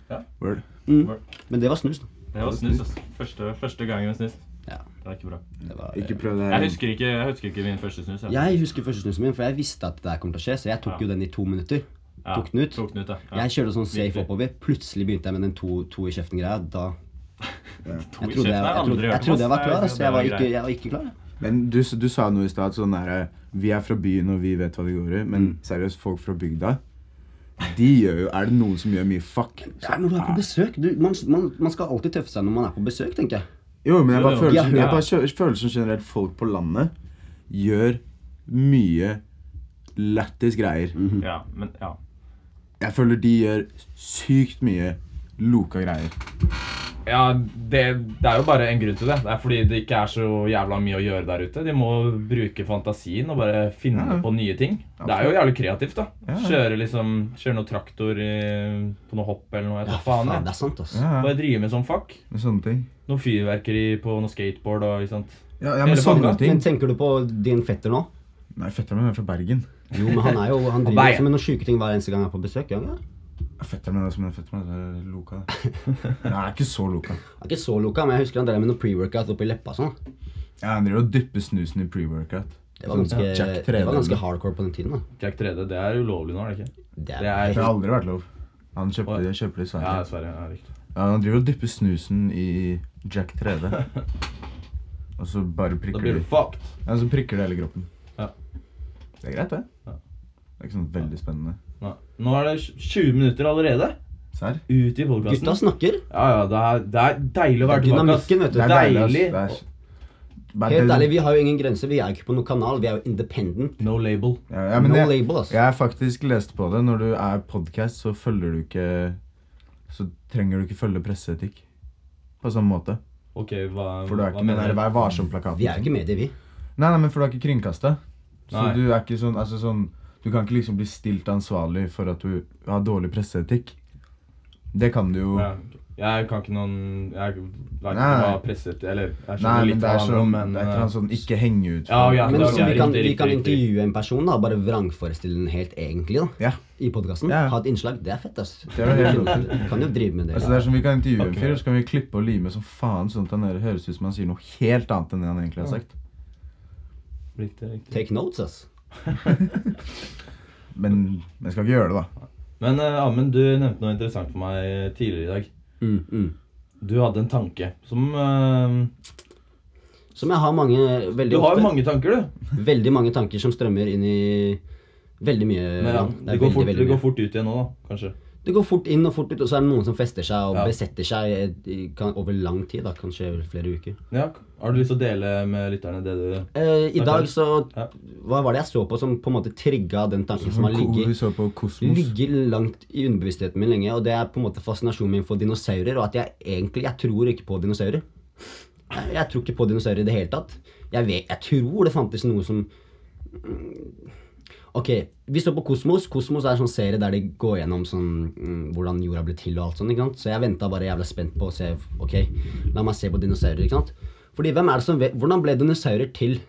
[SPEAKER 2] Ja.
[SPEAKER 3] Word.
[SPEAKER 4] Men det var snus, da.
[SPEAKER 2] Det var snus, altså. Første, første gangen med snus.
[SPEAKER 4] Ja,
[SPEAKER 2] Det er ikke bra.
[SPEAKER 4] det var,
[SPEAKER 3] Ikke prøv det
[SPEAKER 2] Jeg
[SPEAKER 3] her.
[SPEAKER 2] husker ikke, jeg husker ikke min første snus. jeg.
[SPEAKER 4] Jeg husker første snusen min, for jeg visste at det der kom til å skje, så jeg tok jo den i to minutter.
[SPEAKER 2] Ja,
[SPEAKER 4] Tok den ut.
[SPEAKER 2] Tok den ut, ja. ja.
[SPEAKER 4] Jeg kjørte sånn safe
[SPEAKER 2] Viktig.
[SPEAKER 4] oppover. Plutselig begynte jeg med den to, to i kjeften-greia. Da
[SPEAKER 2] To i
[SPEAKER 4] Jeg trodde jeg,
[SPEAKER 2] kjeften har
[SPEAKER 4] jeg,
[SPEAKER 2] aldri
[SPEAKER 4] trodde,
[SPEAKER 2] hørt
[SPEAKER 4] jeg,
[SPEAKER 2] om,
[SPEAKER 4] trodde jeg
[SPEAKER 2] ass.
[SPEAKER 4] var klar,
[SPEAKER 2] Det er-
[SPEAKER 4] ass.
[SPEAKER 2] det
[SPEAKER 4] Jeg
[SPEAKER 2] er
[SPEAKER 4] var
[SPEAKER 2] greit.
[SPEAKER 4] ikke, jeg var ikke klar.
[SPEAKER 3] Men du, s- du sa noe i stad sånn derre Vi er fra byen, og vi vet hva det går i. Men seriøst, folk fra bygda de gjør jo, Er det noen som gjør mye fuck?
[SPEAKER 4] Det er når du er på besøk. Du, man, man, man skal alltid tøffe seg når man er på besøk, tenker jeg.
[SPEAKER 3] Jo, men jeg bare
[SPEAKER 2] Jo, jo.
[SPEAKER 3] føler som,
[SPEAKER 2] Ja.
[SPEAKER 3] jeg bare kjø- føler som generelt folk på landet gjør mye lættis greier.
[SPEAKER 2] ja, men ja.
[SPEAKER 3] Jeg føler de gjør sykt mye loka greier.
[SPEAKER 5] Ja, det, det er jo bare en grunn til det. Det er fordi det ikke er så jævla mye å gjøre der ute. De må bruke fantasien og bare finne
[SPEAKER 3] Ja, ja.
[SPEAKER 5] på nye ting. Det er jo jævlig kreativt, da. Kjøre liksom, kjøre noe traktor i, på noe hopp eller noe. Jeg vet da faen,
[SPEAKER 4] Faen, det
[SPEAKER 5] jeg.
[SPEAKER 4] er sant, altså. ass.
[SPEAKER 3] Ja,
[SPEAKER 5] Bare drive med sånn fuck.
[SPEAKER 3] med sånne ting.
[SPEAKER 5] Noe fyrverkeri på noe skateboard og ikke sant.
[SPEAKER 3] Ja, ja med
[SPEAKER 5] Eller
[SPEAKER 3] sånne
[SPEAKER 5] bare-
[SPEAKER 3] ting.
[SPEAKER 4] Men tenker du på din fetter nå?
[SPEAKER 3] Nei, fetteren min er fra Bergen.
[SPEAKER 4] Jo, men han er jo Han
[SPEAKER 5] Og meg.
[SPEAKER 4] driver også med noen sjuke ting hver eneste gang han er på besøk. Ja. Han
[SPEAKER 3] Fetteren min er som en fetter min er
[SPEAKER 5] (laughs)
[SPEAKER 3] loka. Nei, jeg er ikke så loka.
[SPEAKER 4] er ikke så loka, men jeg husker han drev med noe pre-workout oppi leppa og sånn.
[SPEAKER 3] Ja, han driver og dypper snusen i pre-workout.
[SPEAKER 4] Det var, ganske,
[SPEAKER 3] Sånn Jack
[SPEAKER 4] det var ganske
[SPEAKER 3] 3D.
[SPEAKER 4] hardcore på den tiden. da.
[SPEAKER 5] Jack 3D, det er ulovlig nå, er det ikke?
[SPEAKER 4] Det
[SPEAKER 5] Det
[SPEAKER 4] er,
[SPEAKER 5] er
[SPEAKER 3] Det har aldri vært lov. Han kjøpte det kjøpte det
[SPEAKER 5] Ja,
[SPEAKER 3] i Sverige.
[SPEAKER 5] dessverre. Ja, riktig.
[SPEAKER 3] Ja, han driver og dypper snusen i Jack 3D. Og så bare
[SPEAKER 5] Da
[SPEAKER 3] prikker
[SPEAKER 5] blir du
[SPEAKER 3] du
[SPEAKER 5] fucked.
[SPEAKER 3] Ja, så prikker det hele kroppen.
[SPEAKER 5] Ja.
[SPEAKER 3] Det er greit, det.
[SPEAKER 5] Ja.
[SPEAKER 3] Det er ikke sånn veldig spennende.
[SPEAKER 5] Nei. Nå er det 20 minutter allerede.
[SPEAKER 3] Serr?
[SPEAKER 5] Ut i
[SPEAKER 4] Gutta
[SPEAKER 5] podkasten.
[SPEAKER 4] snakker.
[SPEAKER 5] Ja, ja, det er, det er deilig å være
[SPEAKER 4] Det er
[SPEAKER 5] tilbake. ass.
[SPEAKER 4] dynamikken, vet du.
[SPEAKER 5] Det er deilig.
[SPEAKER 3] ass. Det er-
[SPEAKER 4] Helt
[SPEAKER 3] det-
[SPEAKER 4] ærlig, vi har jo ingen grenser. Vi er jo ikke på noen kanal. Vi er jo independent.
[SPEAKER 5] No label.
[SPEAKER 3] ja, ja, men
[SPEAKER 4] no
[SPEAKER 3] jeg,
[SPEAKER 4] label, altså. ass.
[SPEAKER 3] jeg har faktisk lest på det. Når du er podkast, så følger du ikke Så trenger du ikke følge presseetikk. På samme måte.
[SPEAKER 5] Ok, hva,
[SPEAKER 3] For du er
[SPEAKER 5] hva
[SPEAKER 3] ikke med
[SPEAKER 5] mener
[SPEAKER 3] der Vær varsom-plakaten.
[SPEAKER 4] Vi er jo ikke medier, vi.
[SPEAKER 3] Nei, nei, men for du er ikke kringkasta. Så
[SPEAKER 5] Nei.
[SPEAKER 3] du er ikke sånn, altså sånn Du kan ikke liksom bli stilt ansvarlig for at du har dårlig presseetikk. Det kan du jo
[SPEAKER 5] Ja, ok.
[SPEAKER 2] Jeg kan ikke noen Jeg vet ikke
[SPEAKER 3] Nei.
[SPEAKER 2] hva presset Eller jeg
[SPEAKER 3] Nei,
[SPEAKER 2] skjønner
[SPEAKER 3] men
[SPEAKER 2] litt hva
[SPEAKER 3] det er
[SPEAKER 2] det handler
[SPEAKER 3] sånn,
[SPEAKER 2] om,
[SPEAKER 3] det
[SPEAKER 2] men
[SPEAKER 3] er et eller annet
[SPEAKER 2] eh,
[SPEAKER 3] sånn ikke henge ut.
[SPEAKER 2] Ja, ja, det
[SPEAKER 3] folk.
[SPEAKER 4] Men
[SPEAKER 2] er
[SPEAKER 4] så vi kan,
[SPEAKER 2] riktig,
[SPEAKER 4] vi kan
[SPEAKER 2] riktig, riktig.
[SPEAKER 4] intervjue en person, da, bare vrangforestille den helt egentlig, da.
[SPEAKER 3] Ja.
[SPEAKER 4] I podkasten.
[SPEAKER 3] Ja, ja.
[SPEAKER 4] Ha et innslag. Det er fett, ass.
[SPEAKER 3] Det er jo helt rått.
[SPEAKER 4] Du kan jo drive med det.
[SPEAKER 3] Altså, det er som Vi kan intervjue en fyr, så kan vi klippe og lime som faen, sånn at han der høres ut som han sier noe helt annet enn det han egentlig har sagt.
[SPEAKER 2] Riktig, riktig.
[SPEAKER 4] Take notes, ass.
[SPEAKER 3] Men jeg skal ikke gjøre det, da.
[SPEAKER 2] Men eh, Amund, du nevnte noe interessant for meg tidligere i dag.
[SPEAKER 4] Mm, mm.
[SPEAKER 2] Du hadde en tanke som eh,
[SPEAKER 4] Som jeg har mange veldig
[SPEAKER 2] Du har
[SPEAKER 4] ofte.
[SPEAKER 2] jo mange tanker, du.
[SPEAKER 4] Veldig mange tanker som strømmer inn i veldig mye.
[SPEAKER 2] Men ja,
[SPEAKER 4] ja, det,
[SPEAKER 2] det
[SPEAKER 4] er
[SPEAKER 2] går
[SPEAKER 4] veldig,
[SPEAKER 2] fort,
[SPEAKER 4] veldig
[SPEAKER 2] det går
[SPEAKER 4] mye.
[SPEAKER 2] fort ut igjen nå, da. Kanskje.
[SPEAKER 4] det går fort inn og fort ut, og så er det noen som fester seg og
[SPEAKER 2] Ja.
[SPEAKER 4] besetter seg eh, kan, over lang tid. da, Kanskje over flere uker.
[SPEAKER 2] Ja, Har du lyst til å dele med lytterne det du
[SPEAKER 4] Eh, I
[SPEAKER 2] Ok.
[SPEAKER 4] dag så
[SPEAKER 2] Ja.
[SPEAKER 4] Hva var det jeg så på som på en måte trigga den tanken som har ligget
[SPEAKER 3] Vi så på Kosmos.
[SPEAKER 4] ligger langt i underbevisstheten min lenge, og det er på en måte fascinasjonen min for dinosaurer, og at jeg egentlig jeg tror ikke på dinosaurer. Jeg, jeg tror ikke på dinosaurer i det hele tatt. Jeg, vet, jeg tror det fantes noe som Mm, Ok, vi står på Kosmos. Kosmos er en sånn serie der de går gjennom sånn, mm, hvordan jorda ble til og alt sånt. ikke sant? Så jeg venta bare jævla spent på å se Ok, la meg se på dinosaurer. ikke sant? Fordi hvem er det som vet, Hvordan ble dinosaurer til?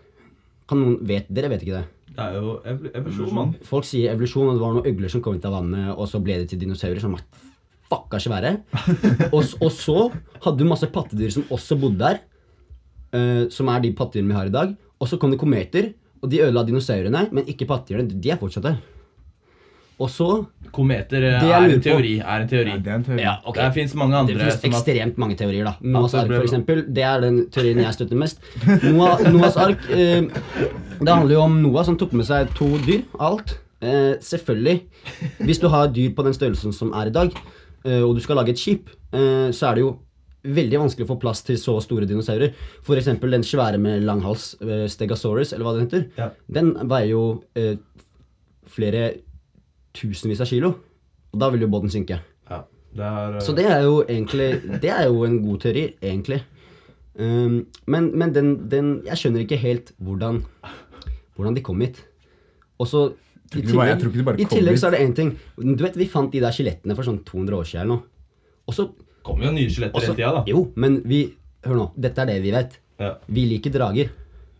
[SPEAKER 4] Kan noen vet, Dere vet ikke det?
[SPEAKER 2] Det er jo evol- evolusjon, mann.
[SPEAKER 4] Mm. Folk sier evolusjon, og det var noen øgler som kom ut av vannet, og så ble det til dinosaurer som var fucka svære. Og, s- og så hadde du masse pattedyr som også bodde der, eh, som er de pattedyrene vi har i dag. Og så kom det kometer, og de ødela dinosaurene, men ikke pattedyrene. De er fortsatt der. Og så
[SPEAKER 2] Kometer eh,
[SPEAKER 4] Det jeg
[SPEAKER 2] er
[SPEAKER 4] lurer
[SPEAKER 2] en
[SPEAKER 4] på-
[SPEAKER 2] teori. Er en teori.
[SPEAKER 3] Ja, det er en teori.
[SPEAKER 4] Ja, ok.
[SPEAKER 2] Det fins mange
[SPEAKER 4] Det
[SPEAKER 2] andre
[SPEAKER 4] finnes
[SPEAKER 2] som har
[SPEAKER 4] ekstremt mange teorier, da. Noahs
[SPEAKER 2] At det
[SPEAKER 4] ark,
[SPEAKER 2] ble-
[SPEAKER 4] for eksempel. Det er den teorien jeg støtter mest. Noah, Noahs ark eh, Det handler jo om Noah som tok med seg to dyr. Alt. Eh, selvfølgelig. Hvis du har dyr på den størrelsen som er i dag, eh, og du skal lage et skip, eh, så er det jo veldig vanskelig å få plass til så store dinosaurer. For eksempel den svære med lang hals, eh, Stegosaurus, eller hva den heter.
[SPEAKER 2] Ja.
[SPEAKER 4] Den veier jo eh, flere tusenvis av kilo. Og da vil jo båten synke.
[SPEAKER 2] ja, det er, eh,
[SPEAKER 4] Så det er jo egentlig Det er jo en god teori, egentlig. Um, men men den, den Jeg skjønner ikke helt hvordan Hvordan de kom hit. Og så i
[SPEAKER 3] tror ikke de bare- jeg tror ikke de bare
[SPEAKER 4] i
[SPEAKER 3] kom
[SPEAKER 4] tillegg
[SPEAKER 3] hit.
[SPEAKER 4] så er det én ting. Du vet, Vi fant de der skjelettene for sånn 200 år siden eller noe. Og så
[SPEAKER 2] kommer jo nye skjeletter
[SPEAKER 4] og
[SPEAKER 2] hele
[SPEAKER 4] så-
[SPEAKER 2] tida, da.
[SPEAKER 4] Jo, men vi Hør nå. Dette er det vi vet.
[SPEAKER 2] Ja.
[SPEAKER 4] Vi liker drager.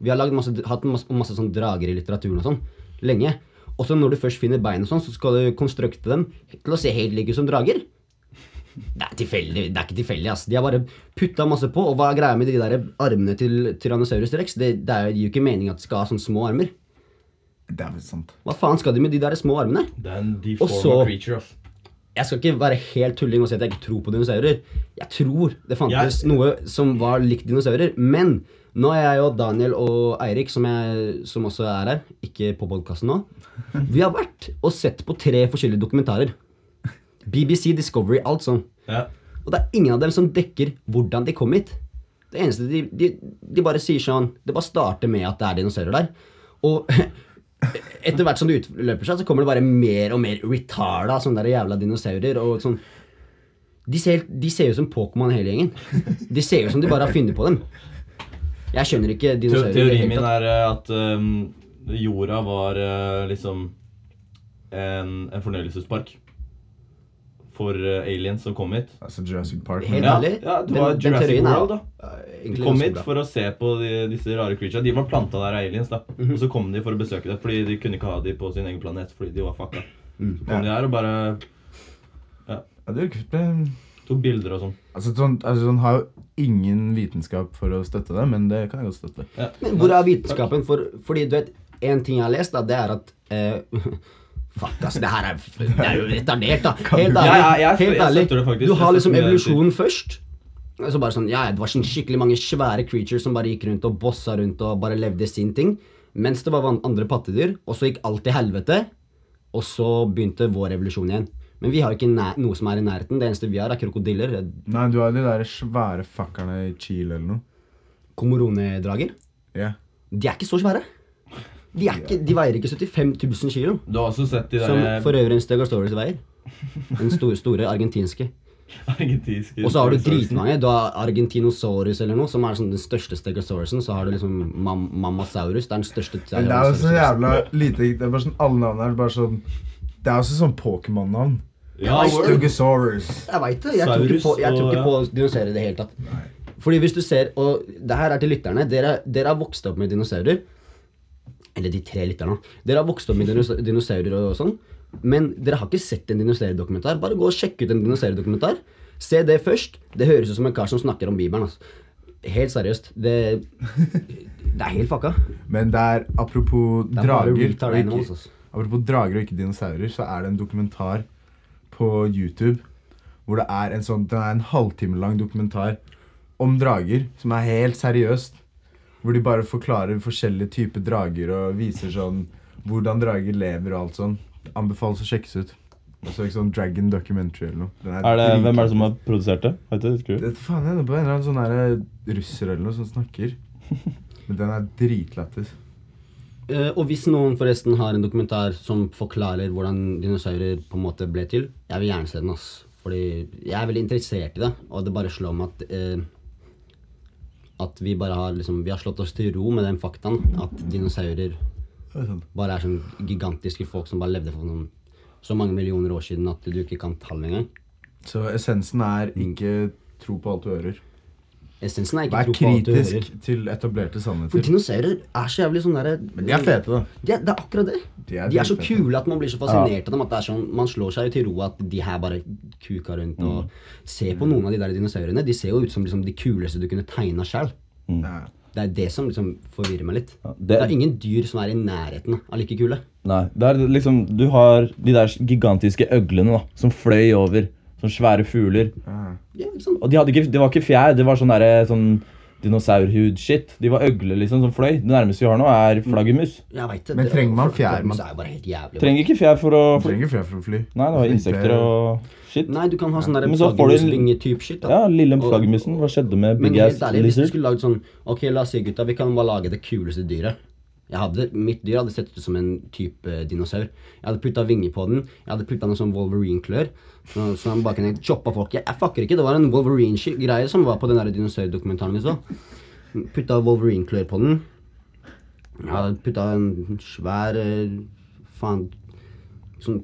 [SPEAKER 4] Vi har lagd masse, hatt masse, masse sånn drager i litteraturen og sånn lenge. Og så når du først finner bein og sånn, så skal du konstrukte dem til å se helt like ut som drager. Det er tilfeldig, det er ikke tilfeldig, ass. De har bare putta masse på. Og hva er greia med de der armene til Tyrannosaurus rex? Det, det er jo- det gir jo ikke mening at de skal ha sånne små armer.
[SPEAKER 3] Det er vel sant.
[SPEAKER 4] Hva faen skal de med de der små armene?
[SPEAKER 2] Det er en deformed
[SPEAKER 4] så-
[SPEAKER 2] creature, ass.
[SPEAKER 4] Jeg skal ikke være helt tulling og si at jeg ikke tror på dinosaurer. Jeg tror det fantes
[SPEAKER 2] Jeg-
[SPEAKER 4] noe som var likt dinosaurer. Men nå er jeg og Daniel og Eirik, som, jeg, som også er her, ikke på podkasten nå, vi har vært og sett på tre forskjellige dokumentarer. BBC, Discovery, alt sånn.
[SPEAKER 2] Ja.
[SPEAKER 4] Og det er ingen av dem som dekker hvordan de kom hit. Det eneste de, de, de bare sier sånn Det bare starter med at det er dinosaurer der. Og (laughs) etter hvert som det utløper seg, så kommer det bare mer og mer retarda sånne der jævla dinosaurer. og sånn De ser, helt- de ser jo som Pokémon hele gjengen. De ser jo som de bare har funnet på dem. Jeg skjønner ikke
[SPEAKER 2] Te
[SPEAKER 4] dinosaurer. i det hele
[SPEAKER 2] teorien min
[SPEAKER 4] tatt.
[SPEAKER 2] er eh, at ehm, jorda var eh, liksom en, en fornøyelsespark for eh, aliens som kom hit.
[SPEAKER 3] Altså Jurassic Park.
[SPEAKER 4] Helt
[SPEAKER 2] Ja,
[SPEAKER 4] ærlig,
[SPEAKER 2] ja, det var Jurassic
[SPEAKER 4] teorien er-
[SPEAKER 2] World, da.
[SPEAKER 4] er
[SPEAKER 2] De
[SPEAKER 4] egentlig
[SPEAKER 2] kom
[SPEAKER 4] ganske
[SPEAKER 2] hit
[SPEAKER 4] bra.
[SPEAKER 2] for å se på de, disse rare creaturene. De var planta der av aliens, da.
[SPEAKER 4] Mhm.
[SPEAKER 2] Og så kom de for å besøke det, fordi de kunne ikke ha de på sin egen planet fordi de var fucka.
[SPEAKER 4] Mm,
[SPEAKER 2] Så kom
[SPEAKER 3] Ja.
[SPEAKER 2] de her og bare
[SPEAKER 3] Ja, det er jo kult, men-
[SPEAKER 2] tok bilder og sånn.
[SPEAKER 3] Altså, sånn, altså, sånn har jo ingen vitenskap for å støtte det, men det kan jeg godt støtte.
[SPEAKER 2] Ja.
[SPEAKER 4] Men hvor er vitenskapen? For, fordi du vet, en ting jeg har lest, da, det er at eh, (laughs) Fuck, altså, det her er, det er jo retardert, da. Helt
[SPEAKER 2] Ja,
[SPEAKER 4] ærlig.
[SPEAKER 2] ja, jeg- jeg
[SPEAKER 4] helt
[SPEAKER 2] støtter det faktisk.
[SPEAKER 4] ærlig. Du
[SPEAKER 2] Jeg
[SPEAKER 4] har liksom
[SPEAKER 2] støtter det jeg sier.
[SPEAKER 4] evolusjonen først. Og Så bare sånn, ja, Det var sånn skikkelig mange svære creatures som bare gikk rundt og bossa rundt og bare levde sin ting. Mens det var van- andre pattedyr. Og så gikk alt til helvete. Og så begynte vår revolusjon igjen. Men vi har jo ikke nær, noe som er i nærheten. Det eneste vi har, er krokodiller. eh,
[SPEAKER 3] Nei, du har de der svære fuckerne i Chile eller noe.
[SPEAKER 4] Komoronedrager.
[SPEAKER 3] Ja.
[SPEAKER 4] De er ikke så svære. De, er ikke, de veier ikke 75 000 kilo.
[SPEAKER 2] Du har også sett de
[SPEAKER 4] Som
[SPEAKER 2] der eh,
[SPEAKER 4] for øvrig en Stegosaurus veier. Den store, store argentinske.
[SPEAKER 2] (laughs) argentinske
[SPEAKER 4] Og så har du dritmange. Du har Argentinosaurus eller noe, som er sånn den største Stegosaurusen. Så har du liksom mam Mammasaurus. Det er den største
[SPEAKER 3] Men det er jo så
[SPEAKER 4] Tyrannosaurusen.
[SPEAKER 3] sånn- jævla lite Det er bare sånn alle navnene er bare sånn Det er også sånn Pokémon-navn.
[SPEAKER 2] Ja,
[SPEAKER 4] word.
[SPEAKER 3] Styggesaurus.
[SPEAKER 4] Jeg veit det. Jeg tror ikke
[SPEAKER 2] Saurus
[SPEAKER 4] på, jeg tror
[SPEAKER 2] og-
[SPEAKER 4] ikke på dinosaurer i det hele tatt. Fordi hvis du ser, og det her er til lytterne Dere, dere har vokst opp med dinosaurer. Eller de tre lytterne. Dere har vokst opp med dinos dinosaurer og sånn. Men dere har ikke sett en dinosaurdokumentar. Bare gå og sjekk ut en dinosaurdokumentar. Se det først. Det høres ut som en kar som snakker om Bibelen. Altså. Helt seriøst. Det, det er helt fucka.
[SPEAKER 3] Men det er apropos
[SPEAKER 4] er bare
[SPEAKER 3] drager
[SPEAKER 4] retard
[SPEAKER 3] og ikke,
[SPEAKER 4] animals, altså.
[SPEAKER 3] Apropos drager og ikke dinosaurer, så er det en dokumentar på YouTube hvor det er en sånn, den er en halvtime lang dokumentar om drager, som er helt seriøst. Hvor de bare forklarer forskjellige typer drager og viser sånn hvordan drager lever og alt sånn. Anbefales å sjekkes ut. Og så ikke sånn Dragon Documentary eller noe. Den
[SPEAKER 2] Er det,
[SPEAKER 3] dritkult.
[SPEAKER 2] hvem er det som har produsert det? Vet du, husker du?
[SPEAKER 3] Det faen jeg er på en eller annen sånn der russer eller noe som
[SPEAKER 2] (laughs)
[SPEAKER 3] snakker. Men den er dritlættis.
[SPEAKER 4] Eh, og hvis noen forresten har en dokumentar som forklarer hvordan dinosaurer på en måte ble til, jeg vil gjerne se den. ass. Fordi jeg er veldig interessert i det, og det bare slår meg at eh, At vi bare har liksom, vi har slått oss til ro med den faktaen at dinosaurer
[SPEAKER 3] Det er sant.
[SPEAKER 4] bare er sånn gigantiske folk som bare levde for noen, så mange millioner år siden at du ikke kan tallene engang.
[SPEAKER 3] Så essensen er
[SPEAKER 2] Mm.
[SPEAKER 3] ikke tro på alt du hører.
[SPEAKER 4] Essensen er ikke
[SPEAKER 3] Vær
[SPEAKER 4] tro på alt du hører.
[SPEAKER 3] kritisk til etablerte
[SPEAKER 4] For
[SPEAKER 3] sannheter.
[SPEAKER 4] dinosaurer er så jævlig sånn derre
[SPEAKER 3] Men de er fete, da.
[SPEAKER 4] De er, det er akkurat det.
[SPEAKER 3] De
[SPEAKER 4] De
[SPEAKER 3] er
[SPEAKER 4] er, så
[SPEAKER 3] dritfete.
[SPEAKER 4] kule at man blir så fascinert av dem. at det er sånn, Man slår seg jo til ro at de her bare kuker rundt og
[SPEAKER 3] Mm.
[SPEAKER 4] Se på noen av de der dinosaurene. De ser jo ut som liksom, de kuleste du kunne tegna sjøl.
[SPEAKER 3] Ja.
[SPEAKER 4] Det er det som liksom forvirrer meg litt.
[SPEAKER 2] Ja, det-
[SPEAKER 4] det... er ingen dyr som er i nærheten av like kule.
[SPEAKER 2] Nei. Det er liksom, du har de der gigantiske øglene da, som fløy over. Som svære fugler.
[SPEAKER 3] Ja.
[SPEAKER 4] Ja, ikke sant?
[SPEAKER 2] Og de hadde ikke, det var ikke fjær, det var sånn, derre- sånn dinosaurhud-shit. De var øgler liksom, som fløy. Det nærmeste vi har nå, er flaggermus.
[SPEAKER 4] Jeg vet det.
[SPEAKER 3] Men
[SPEAKER 4] Det-
[SPEAKER 3] trenger man
[SPEAKER 4] for-
[SPEAKER 3] fjær,
[SPEAKER 4] flaggermus
[SPEAKER 3] man-
[SPEAKER 4] er jo bare helt jævlig.
[SPEAKER 2] Trenger ikke fjær for å
[SPEAKER 3] Du
[SPEAKER 2] fly.
[SPEAKER 3] trenger ikke flere for å fly.
[SPEAKER 2] Nei, det var insekter og shit.
[SPEAKER 4] Nei, du kan ha sånn der
[SPEAKER 2] Men så får du-
[SPEAKER 4] flaggermusvinge-type shit. da.
[SPEAKER 2] Ja, lille
[SPEAKER 4] Og-
[SPEAKER 2] flaggermusen. Hva skjedde med
[SPEAKER 4] Men
[SPEAKER 2] Big Ass
[SPEAKER 4] helt ærlig, hvis du
[SPEAKER 2] Lizard?
[SPEAKER 4] skulle lagd sånn Ok, la oss si gutta, vi kan bare lage det kuleste dyret. Jeg hadde, mitt dyr hadde sett ut som en type dinosaur. Jeg hadde putta vinger på den. Jeg hadde putta noen sånn Wolverine-klør. Så så han bare kunne choppe folk. Jeg, jeg fucker ikke, det var en Wolverine-greie som var på den der dinosaurdokumentaren vi så. Putta Wolverine-klør på den. Jeg hadde putta en svær eh, Faen Sånn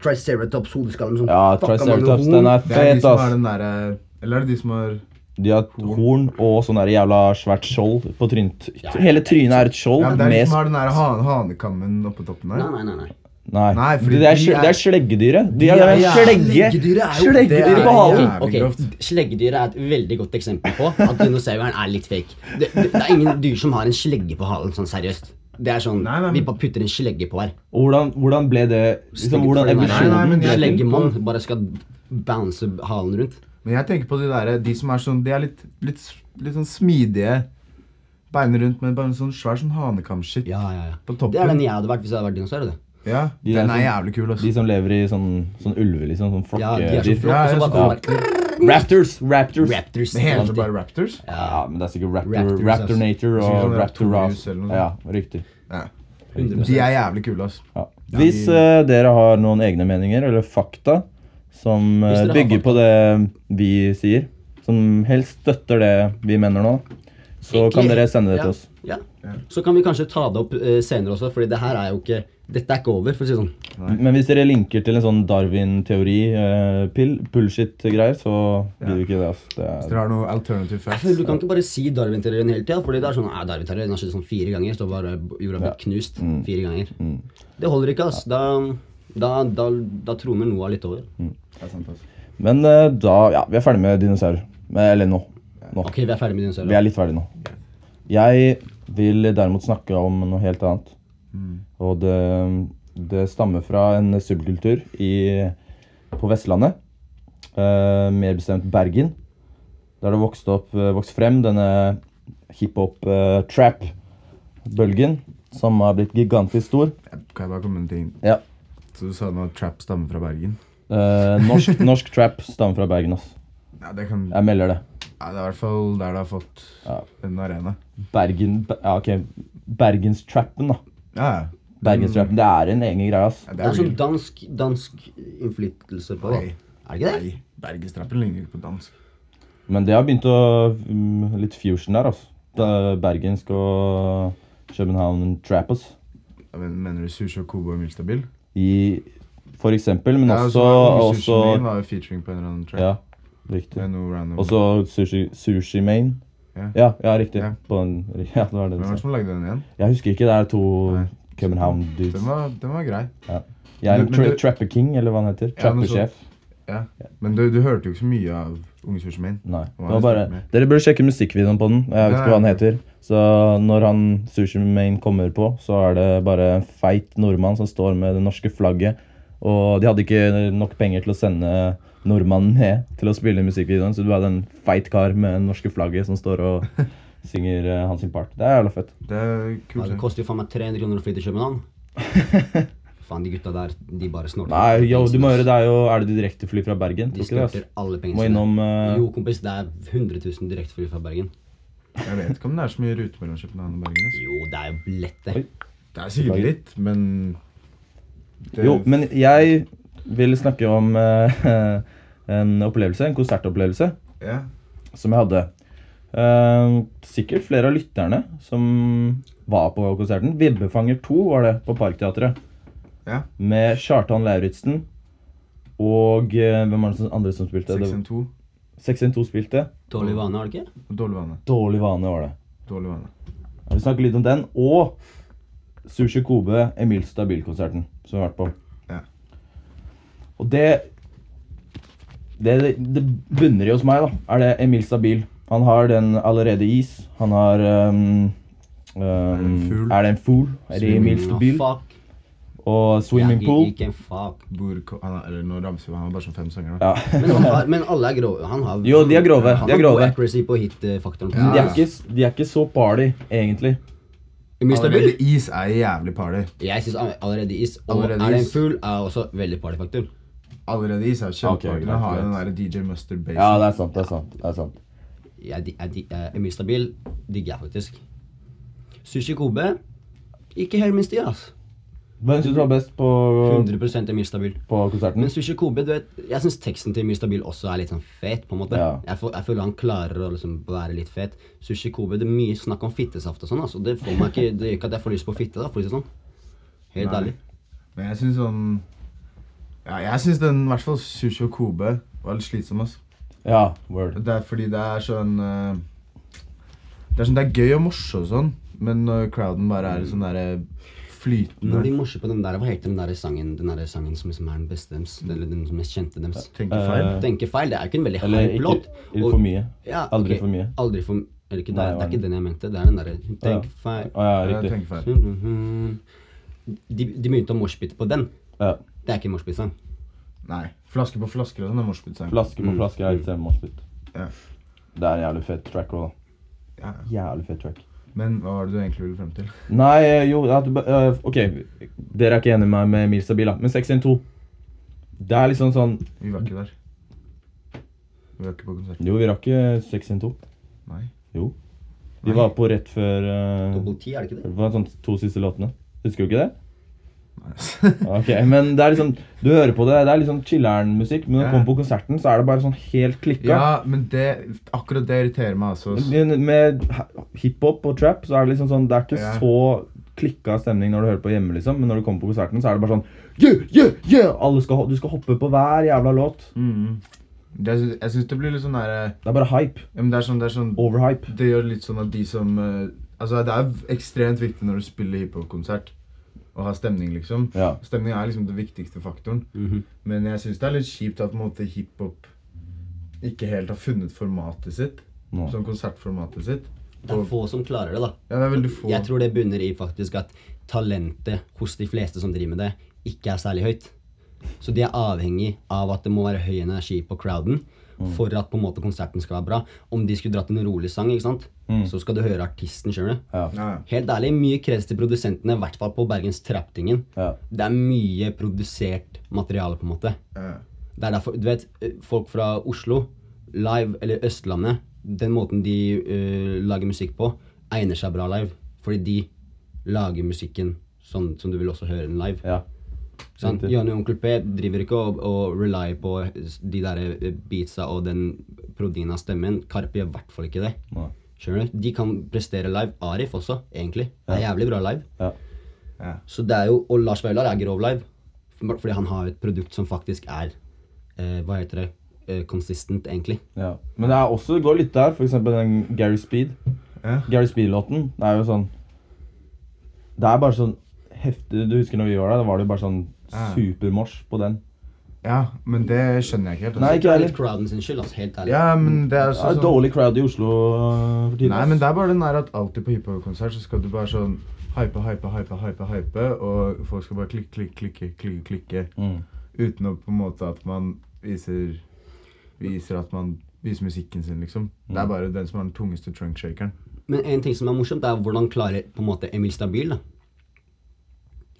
[SPEAKER 4] Triceratops-hodeskalle med sånn
[SPEAKER 2] Ja,
[SPEAKER 4] fucka mange
[SPEAKER 2] Triceratops,
[SPEAKER 4] horn.
[SPEAKER 2] den er
[SPEAKER 3] Det er de
[SPEAKER 2] fet,
[SPEAKER 3] som har
[SPEAKER 2] ass.
[SPEAKER 3] den derre Eller er det de som har
[SPEAKER 2] De har horn og sånn der jævla svært skjold på trynet. Hele trynet er et skjold
[SPEAKER 3] ja, men Det er de
[SPEAKER 2] med
[SPEAKER 3] som har den derre han, hanekammen oppå toppen der.
[SPEAKER 4] Nei, nei, nei. nei.
[SPEAKER 2] Nei,
[SPEAKER 3] Nei, fordi
[SPEAKER 2] det, er,
[SPEAKER 3] de
[SPEAKER 2] sle-
[SPEAKER 3] er-
[SPEAKER 2] det er sleggedyret. De er,
[SPEAKER 3] er-
[SPEAKER 2] slegge.
[SPEAKER 4] Sleggedyret er jo-
[SPEAKER 3] Det
[SPEAKER 2] Sleggedyret
[SPEAKER 3] er
[SPEAKER 2] på halen.
[SPEAKER 3] jævlig
[SPEAKER 4] Ok,
[SPEAKER 3] grovt.
[SPEAKER 4] Sleggedyret er et veldig godt eksempel på at dinosauren er litt fake. Det, det, det er ingen dyr som har en slegge på halen, sånn seriøst. Det er sånn,
[SPEAKER 3] Nei, nei, men-
[SPEAKER 4] Vi bare putter en slegge på her.
[SPEAKER 2] Og Hvordan, hvordan ble det liksom, Hvordan
[SPEAKER 3] Nei, nei, men
[SPEAKER 2] evolusjonen
[SPEAKER 3] jeg-
[SPEAKER 2] ble til?
[SPEAKER 4] Sleggemann bare skal bounce halen rundt.
[SPEAKER 3] Men jeg tenker på de derre De som er sånn De er litt, litt, litt sånn smidige. Beina rundt, men bare en sånn svær sånn hanekamshit
[SPEAKER 4] Ja, ja, ja.
[SPEAKER 3] på toppen.
[SPEAKER 4] Det er den jeg hadde vært hvis jeg hadde vært dinosaur. det.
[SPEAKER 3] Ja,
[SPEAKER 2] De
[SPEAKER 3] den
[SPEAKER 2] er
[SPEAKER 3] er
[SPEAKER 2] sånn-
[SPEAKER 3] jævlig kul, ass.
[SPEAKER 2] De som lever i sånn, sånn ulver, liksom. Sånn
[SPEAKER 4] Ja, de er så
[SPEAKER 2] flokkedyr.
[SPEAKER 4] flokke,
[SPEAKER 3] Ja,
[SPEAKER 4] så
[SPEAKER 3] ja,
[SPEAKER 4] bare kommer det
[SPEAKER 2] Raptors! Raptors.
[SPEAKER 4] raptors.
[SPEAKER 3] Det heter
[SPEAKER 4] alltid.
[SPEAKER 3] bare Raptors.
[SPEAKER 2] Ja, men det er sikkert raptor,
[SPEAKER 4] Raptors, altså. ass.
[SPEAKER 2] Raptornator
[SPEAKER 3] Sikkert
[SPEAKER 2] og
[SPEAKER 3] sånn
[SPEAKER 2] Raptoras.
[SPEAKER 3] Raptorius eller noe
[SPEAKER 2] Ja, riktig.
[SPEAKER 3] Ja.
[SPEAKER 2] riktig.
[SPEAKER 3] De er jævlig kule, ass.
[SPEAKER 2] Ja. Hvis eh, dere har noen egne meninger eller fakta som eh,
[SPEAKER 4] Hvis dere har
[SPEAKER 2] bygger på det vi sier, som helst støtter det vi mener nå, så
[SPEAKER 4] Ikke-
[SPEAKER 2] kan dere sende det
[SPEAKER 4] ja,
[SPEAKER 2] til oss.
[SPEAKER 4] Ja. Så kan vi kanskje ta det opp eh, senere også, Fordi det her er jo ikke Dette er ikke over, for å si det sånn.
[SPEAKER 2] Men hvis dere linker til en sånn Darwin-teori-pill, bullshit-greier, så blir det ikke det. Altså. det
[SPEAKER 3] Hvis
[SPEAKER 2] er,
[SPEAKER 3] dere har noe alternative facts.
[SPEAKER 4] Men Du kan ikke bare si Darwin-teorien hele tida. Fordi det er sånn, «Ah, Darwin-teorien har skjedd sånn fire ganger. Så bare jorda blitt knust
[SPEAKER 2] Mm.
[SPEAKER 4] fire ganger. Det holder ikke, ass. Da, da, da, da troner Noah litt over.
[SPEAKER 3] Det er sant, ass.
[SPEAKER 2] men eh, da Ja, vi er ferdig med dinosaurer. Men- Eller nå. nå.
[SPEAKER 4] Ok, vi er ferdig
[SPEAKER 2] Vi
[SPEAKER 4] med dinosaurer.
[SPEAKER 2] er litt ferdige nå. Jeg vil derimot snakke om noe helt annet. Og det, det stammer fra en subkultur i, på Vestlandet. eh, mer bestemt Bergen. Der det vokste opp, eh, vokst frem denne hiphop-trap-bølgen. som har blitt gigantisk stor.
[SPEAKER 3] Kan jeg bare komme med en ting?
[SPEAKER 2] Ja.
[SPEAKER 3] Så du sa nå at trap stammer fra Bergen?
[SPEAKER 2] Eh, norsk, norsk trap stammer fra Bergen, ass.
[SPEAKER 3] Ja, det kan ja,
[SPEAKER 2] Jeg melder det.
[SPEAKER 3] Det er i hvert fall der det har fått
[SPEAKER 2] Ja.
[SPEAKER 3] en arena.
[SPEAKER 2] Bergen, Be- ja, ok. Bergenstrappen, da.
[SPEAKER 3] Ja, ja.
[SPEAKER 2] Bergenstrappen, Det er en egen greie, ass.
[SPEAKER 3] Ja,
[SPEAKER 4] Det er sånn
[SPEAKER 3] real.
[SPEAKER 4] dansk, dansk innflytelse på det.
[SPEAKER 3] Nei.
[SPEAKER 4] Er det ikke det?
[SPEAKER 3] Nei, Bergenstrappen ligner ikke på dansk.
[SPEAKER 2] Men det har begynt å mm, Litt fusion der, altså. Det er bergensk og København Trappers.
[SPEAKER 3] Ja, men- Mener du Sushi og Kobo er Milstabil?
[SPEAKER 2] I for eksempel, men
[SPEAKER 3] Ja, altså,
[SPEAKER 2] også,
[SPEAKER 3] var det
[SPEAKER 2] også
[SPEAKER 3] Sushi Main var jo featuring på en eller annen track.
[SPEAKER 2] Ja,
[SPEAKER 3] Med
[SPEAKER 2] riktig.
[SPEAKER 3] noe random.
[SPEAKER 2] Og så sushi, sushi Main.
[SPEAKER 3] Ja.
[SPEAKER 2] Ja, ja, riktig.
[SPEAKER 3] Ja.
[SPEAKER 2] På den, (laughs) ja, det var det
[SPEAKER 3] Hvem
[SPEAKER 2] du
[SPEAKER 3] var
[SPEAKER 2] sa.
[SPEAKER 3] det som lagde den igjen?
[SPEAKER 2] Jeg husker ikke. Det er to
[SPEAKER 3] Nei.
[SPEAKER 2] København dudes.
[SPEAKER 3] Den var, den var grei.
[SPEAKER 2] Jeg er en
[SPEAKER 3] Men-
[SPEAKER 2] tra
[SPEAKER 3] men du-
[SPEAKER 2] Trapper King, eller hva han heter.
[SPEAKER 3] Ja, noe sånt.
[SPEAKER 2] Trappersjef.
[SPEAKER 3] Men du, du hørte jo ikke så mye av Unge Sushi Main.
[SPEAKER 2] Nei.
[SPEAKER 3] Hva
[SPEAKER 2] Det var
[SPEAKER 3] er det
[SPEAKER 2] bare,
[SPEAKER 3] snakk med?
[SPEAKER 2] dere burde sjekke musikkvideoen på den. Jeg vet
[SPEAKER 3] Nei.
[SPEAKER 2] ikke hva han heter. Så når han Sushi Main kommer på, så er det bare en feit nordmann som står med det norske flagget. Og de hadde ikke nok penger til å sende nordmannen ned til å spille i musikkvideoen, så du hadde en feit kar med det norske flagget som står
[SPEAKER 3] (laughs)
[SPEAKER 2] og synger eh, hans sin part. Det er jævla fett.
[SPEAKER 3] Det er
[SPEAKER 4] Ja,
[SPEAKER 3] kult.
[SPEAKER 4] det
[SPEAKER 3] det.
[SPEAKER 4] koster jo faen meg 300 kroner å fly til
[SPEAKER 2] (laughs)
[SPEAKER 4] København. faen, de gutta der, de bare snorter.
[SPEAKER 2] Nei, yo, du må høre, det er jo Er det direktefly fra Bergen?
[SPEAKER 4] De
[SPEAKER 2] Tror ikke det,
[SPEAKER 4] snorter
[SPEAKER 2] ass.
[SPEAKER 4] alle pengene
[SPEAKER 2] Må innom eh,
[SPEAKER 4] Jo, kompis, det er 100 000 direktefly fra Bergen.
[SPEAKER 3] Jeg vet ikke om det er så mye rute mellom København og Bergen.
[SPEAKER 2] (laughs)
[SPEAKER 3] Altså.
[SPEAKER 4] Jo, det er jo
[SPEAKER 2] Oi.
[SPEAKER 3] Det er sikkert
[SPEAKER 4] lett, det.
[SPEAKER 3] litt, men det,
[SPEAKER 2] Jo, men jeg vil snakke om eh, (laughs) en opplevelse, en konsertopplevelse,
[SPEAKER 3] ja.
[SPEAKER 2] som jeg hadde. Eh, sikkert flere av lytterne som var på konserten. 'Vibbefanger 2' var det på Parkteatret.
[SPEAKER 3] Ja.
[SPEAKER 2] Med Kjartan Lauritzen og eh, Hvem var det som, andre som spilte?
[SPEAKER 3] 612.
[SPEAKER 2] 612 spilte.
[SPEAKER 4] Dårlig vane, har du ikke?
[SPEAKER 3] Dårlig vane.
[SPEAKER 2] Dårlig vane var det.
[SPEAKER 3] Dårlig vane.
[SPEAKER 2] Jeg vil snakke litt om den, og Sushi Kobe Emil Stabil-konserten som vi har vært på.
[SPEAKER 3] Ja.
[SPEAKER 2] Og det, det Det bunner i hos meg, da, er det Emil Stabil. Han har den allerede is. Han har um, um,
[SPEAKER 3] det en fugl?
[SPEAKER 2] Er det en fugl? Er det Emil
[SPEAKER 4] Ah,
[SPEAKER 2] Stabil?
[SPEAKER 4] fuck.
[SPEAKER 2] Og Swimming
[SPEAKER 4] Jeg
[SPEAKER 2] Pool.
[SPEAKER 4] Ikke en fuck.
[SPEAKER 3] Bor, ko- han er, eller nå ramser vi, han har bare sånn fem sanger. da.
[SPEAKER 2] Ja.
[SPEAKER 4] Men, han har, men alle er grove. Han har,
[SPEAKER 2] Jo, de er grove,
[SPEAKER 4] Han
[SPEAKER 2] de er
[SPEAKER 4] har god
[SPEAKER 2] grove.
[SPEAKER 4] accuracy på hit-faktoren.
[SPEAKER 3] Ja.
[SPEAKER 2] (laughs) De er, ikke, s- de er ikke så party, egentlig.
[SPEAKER 4] Mr. Bill,
[SPEAKER 3] Allerede is er jævlig party.
[SPEAKER 4] jeg synes han- allerede is. Og
[SPEAKER 3] Allerede
[SPEAKER 4] er det en
[SPEAKER 3] is.
[SPEAKER 4] fugl, er også veldig partyfaktor.
[SPEAKER 3] Allerede is er kjempeparty.
[SPEAKER 2] Ok, greit,
[SPEAKER 3] Den har jo den
[SPEAKER 2] greit.
[SPEAKER 3] der DJ Mustard Bass.
[SPEAKER 2] Ja, det er sant. det er sant, det er sant.
[SPEAKER 4] Jeg, di- jeg, di- eh, Mr. Bill digger jeg faktisk. Sushi Kobe, ikke helt min stil, ass.
[SPEAKER 2] Hvem syns du var best på,
[SPEAKER 4] 100 Emil Stabil.
[SPEAKER 2] på konserten?
[SPEAKER 4] Men Sushi Kobe, du vet, jeg syns teksten til Emil Stabil også er litt sånn fet. på en måte.
[SPEAKER 2] Ja.
[SPEAKER 4] Jeg, får- jeg føler han klarer å liksom være litt fet. Sushi Kobe, det er mye snakk om fittesaft og sånn. altså. Det får meg ikke, det gjør ikke at jeg får lyst på fitte. da, for å si det sånn. Helt
[SPEAKER 3] Nei.
[SPEAKER 4] ærlig.
[SPEAKER 3] Men jeg syns sånn Ja, jeg syns den, i hvert fall Sushi og Kobe, var litt slitsom, ass.
[SPEAKER 2] Ja, word.
[SPEAKER 3] Det er fordi det er sånn eh, Det er sånn, det er gøy og morsomt og sånn, men når crowden bare er sånn derre
[SPEAKER 4] Når de
[SPEAKER 2] Mm.
[SPEAKER 3] flytende
[SPEAKER 4] morser på den der, hva heter den der sangen den der sangen som liksom er den beste dems? Eller den som mest kjente dems?
[SPEAKER 3] Tenker feil.
[SPEAKER 2] Eh,
[SPEAKER 4] Tenker feil, det er ikke en veldig
[SPEAKER 2] Eller
[SPEAKER 4] hype
[SPEAKER 2] ikke,
[SPEAKER 4] låt.
[SPEAKER 2] ikke for mye.
[SPEAKER 4] Ja,
[SPEAKER 2] Aldri
[SPEAKER 4] ok.
[SPEAKER 2] for mye.
[SPEAKER 4] Aldri for eller ikke, det,
[SPEAKER 2] Nei,
[SPEAKER 4] er, det er
[SPEAKER 2] hva er
[SPEAKER 4] ikke den jeg mente. Det er den derre
[SPEAKER 2] Ja.
[SPEAKER 4] Tenk feil Mm,
[SPEAKER 2] Å, ja,
[SPEAKER 3] Ja,
[SPEAKER 2] riktig.
[SPEAKER 3] tenker feil.
[SPEAKER 4] De, de begynte å moshpite på den.
[SPEAKER 2] Ja.
[SPEAKER 4] Det er ikke en moshpit-sang.
[SPEAKER 3] Nei. Flasker på flasker og sånn er morsbitsang.
[SPEAKER 2] Flaske på flaske er
[SPEAKER 3] Mm.
[SPEAKER 2] litt moshpit.
[SPEAKER 3] Ja.
[SPEAKER 2] Det er en jævlig fet track òg, da.
[SPEAKER 3] Ja.
[SPEAKER 2] Jævlig fet track.
[SPEAKER 3] Men hva var det du egentlig ville frem til?
[SPEAKER 2] Nei, jo at, du ba- øh, Ok, dere er ikke enige med meg med Emil Stabil, da. Men 612 Det er liksom sånn
[SPEAKER 3] Vi var ikke der. Vi var ikke på konsert.
[SPEAKER 2] Jo, vi rakk eh, ikke 612.
[SPEAKER 3] Nei.
[SPEAKER 2] Jo. Vi
[SPEAKER 3] Nei.
[SPEAKER 2] var på rett før øh,
[SPEAKER 4] Dobbel ti, er det ikke
[SPEAKER 2] Det
[SPEAKER 4] det?
[SPEAKER 2] var sånn to siste låtene. Husker du ikke det?
[SPEAKER 3] Nei, altså.
[SPEAKER 2] (laughs)
[SPEAKER 3] ass.
[SPEAKER 2] Ok, Men det er liksom Du hører på det, det er liksom chiller'n-musikk, men når du
[SPEAKER 3] Ja.
[SPEAKER 2] kommer på konserten, så er det bare sånn helt klikka.
[SPEAKER 3] Ja, men det, akkurat det irriterer meg altså.
[SPEAKER 2] Men Med hiphop og trap så er det liksom sånn Det er ikke
[SPEAKER 3] Ja.
[SPEAKER 2] så klikka stemning når du hører på hjemme, liksom. Men når du kommer på konserten, så er det bare sånn yeah, yeah, yeah! Alle skal, ho- du skal hoppe på hver jævla låt.
[SPEAKER 5] Mm.
[SPEAKER 3] Mhm. Det, jeg syns- jeg syns det blir litt sånn derre
[SPEAKER 2] Det er bare hype.
[SPEAKER 3] ja, men Det er sånn, det er sånn
[SPEAKER 2] Overhype.
[SPEAKER 3] Det gjør litt sånn at de som eh, Altså, det er ekstremt viktig når du spiller hiphop-konsert å ha stemning, liksom.
[SPEAKER 2] Ja.
[SPEAKER 3] Stemning er liksom den viktigste faktoren.
[SPEAKER 4] Mhm.
[SPEAKER 3] Men jeg syns det er litt kjipt at på en måte hiphop ikke helt har funnet formatet sitt.
[SPEAKER 2] Nå.
[SPEAKER 3] Sånn konsertformatet sitt.
[SPEAKER 4] Det er få som klarer det, da.
[SPEAKER 3] Ja, det er veldig få.
[SPEAKER 4] Jeg tror det bunner i faktisk at talentet hos de fleste som driver med det, ikke er særlig høyt. Så de er avhengig av at det må være høy energi på crowden for at på en måte konserten skal være bra. Om de skulle dratt en rolig sang, ikke sant? så skal du høre artisten sjøl.
[SPEAKER 2] Ja.
[SPEAKER 3] Ja, ja.
[SPEAKER 4] Helt ærlig, mye kreds til produsentene, i hvert fall på Bergens Trapptingen.
[SPEAKER 2] Ja.
[SPEAKER 4] Det er mye produsert materiale, på en måte.
[SPEAKER 3] ja.
[SPEAKER 4] Det er derfor, du vet, eh, folk fra Oslo, live, eller Østlandet, den måten de eh, lager musikk på, egner seg bra live. Fordi de lager musikken sånn som du vil også høre den live.
[SPEAKER 2] ja.
[SPEAKER 4] Sånn,
[SPEAKER 2] riktig.
[SPEAKER 4] Johnny og Onkel P driver ikke og, og relyer på de der eh, beatsa og den proddingen av stemmen. Karpe gjør i hvert fall ikke det.
[SPEAKER 2] Nei.
[SPEAKER 4] Skjønner du? De kan prestere live. Arif også, egentlig. Det er jævlig bra live.
[SPEAKER 2] Ja.
[SPEAKER 3] ja.
[SPEAKER 4] Så det er jo, Og Lars Vaular er grov live. Bare Fordi han har et produkt som faktisk er eh, Hva heter det? Eh, consistent, egentlig.
[SPEAKER 5] Ja. Men det er også, det går litt der, for eksempel den Gary Speed.
[SPEAKER 3] Ja.
[SPEAKER 5] Gary Speed-låten, det er jo sånn Det er bare sånn heftig Du husker når vi var der, da var det jo bare sånn
[SPEAKER 3] Ja.
[SPEAKER 5] supermorsk på den.
[SPEAKER 3] Ja, men det skjønner jeg ikke helt.
[SPEAKER 5] Nei,
[SPEAKER 3] altså.
[SPEAKER 5] ikke
[SPEAKER 4] Det er
[SPEAKER 5] heller.
[SPEAKER 4] litt crowden sin skyld, altså. Helt ærlig.
[SPEAKER 3] Ja, men det er
[SPEAKER 5] Det
[SPEAKER 3] også
[SPEAKER 5] er
[SPEAKER 3] sånn
[SPEAKER 2] altså.
[SPEAKER 5] dårlig crowd i Oslo øh, for tiden.
[SPEAKER 3] Nei, men det er bare den der at alltid på hiphop-konsert så skal du bare sånn hype, hype, hype, hype, hype, og folk skal bare klikke, klikke, klikke, klikke, klikke.
[SPEAKER 5] mm.
[SPEAKER 3] Uten å på en måte at man viser Viser at man viser musikken sin, liksom. Det
[SPEAKER 4] Mm.
[SPEAKER 3] er bare den som har den tungeste trunk-shakeren.
[SPEAKER 4] Men en ting som er morsomt, er hvordan klarer på en måte Emil Stabil da,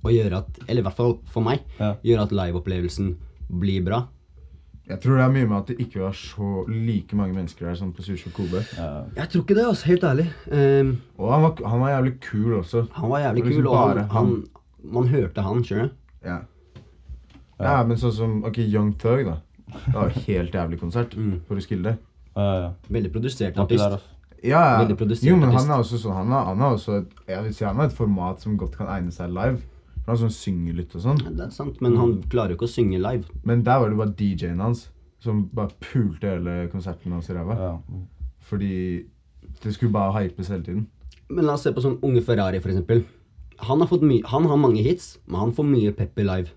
[SPEAKER 4] å gjøre at Eller i hvert fall for meg.
[SPEAKER 5] Ja.
[SPEAKER 4] Gjøre at liveopplevelsen blir bra.
[SPEAKER 3] Jeg tror det er mye med at det ikke var så like mange mennesker der som på Sushi Kobe.
[SPEAKER 4] Jeg tror ikke det, altså. Helt ærlig. Ehm,
[SPEAKER 3] Og han var, han var jævlig kul også.
[SPEAKER 4] han var jævlig
[SPEAKER 3] Det var liksom
[SPEAKER 4] kul, og han,
[SPEAKER 3] bare
[SPEAKER 4] han,
[SPEAKER 3] han.
[SPEAKER 4] man hørte han, skjønner du?
[SPEAKER 3] Ja. ja, men sånn som ok, Young Thug, da. Det var jo helt jævlig konsert
[SPEAKER 4] Mm.
[SPEAKER 3] for Roskilde.
[SPEAKER 5] Ja, ja, ja.
[SPEAKER 4] Veldig produsert
[SPEAKER 5] Var ikke der,
[SPEAKER 4] artist.
[SPEAKER 5] altså.
[SPEAKER 3] Ja, ja.
[SPEAKER 4] Veldig produsert
[SPEAKER 3] Jo, men han
[SPEAKER 4] artist.
[SPEAKER 3] er også sånn Han er, han er også et, jeg vil si han er et format som godt kan egne seg live. For han sånn synger litt og sånn.
[SPEAKER 4] Ja, Det er sant, men han klarer jo ikke å synge live.
[SPEAKER 3] Men der var det bare DJ-en hans som bare pulte hele konserten hans i ræva.
[SPEAKER 5] Ja.
[SPEAKER 3] Fordi det skulle bare hypes hele tiden.
[SPEAKER 4] Men la oss se på sånn Unge Ferrari, for eksempel. Han har, fått my han har mange hits, men han får mye pepper live.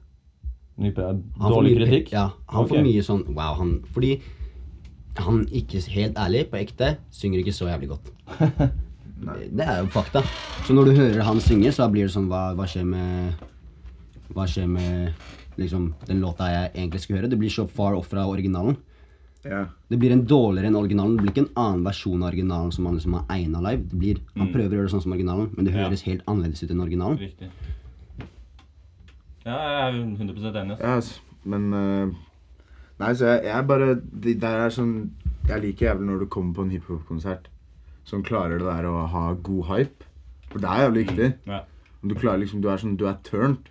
[SPEAKER 5] Ny P-
[SPEAKER 4] Han får
[SPEAKER 5] Dårlig
[SPEAKER 4] mye pe-
[SPEAKER 5] kritikk?
[SPEAKER 4] Ja, han
[SPEAKER 5] Ok.
[SPEAKER 4] får mye sånn wow, han Fordi han ikke helt ærlig, på ekte, synger ikke så
[SPEAKER 5] (laughs)
[SPEAKER 4] jævlig godt. Det er jo fakta. Så når du hører han synge, så blir det sånn Hva, hva skjer med Hva skjer med liksom den låta jeg egentlig skulle høre? Det blir så far off fra originalen.
[SPEAKER 3] Ja.
[SPEAKER 4] Det blir en dårligere enn originalen. Det blir ikke en annen versjon av originalen som han liksom har egnet live. Det blir, Han prøver å gjøre det sånn som originalen, men det
[SPEAKER 2] Mm. Ja.
[SPEAKER 4] høres helt annerledes ut enn originalen.
[SPEAKER 2] Riktig. Ja, jeg er 100 enig. altså. ass.
[SPEAKER 3] Ja, ass. men eh, Nei, så jeg, jeg bare De der er sånn Jeg liker jævlig når du kommer på en hiphop-konsert som klarer det der å ha god hype. For det er jævlig viktig.
[SPEAKER 2] Ja.
[SPEAKER 3] Du klarer liksom Du er sånn Du er turned.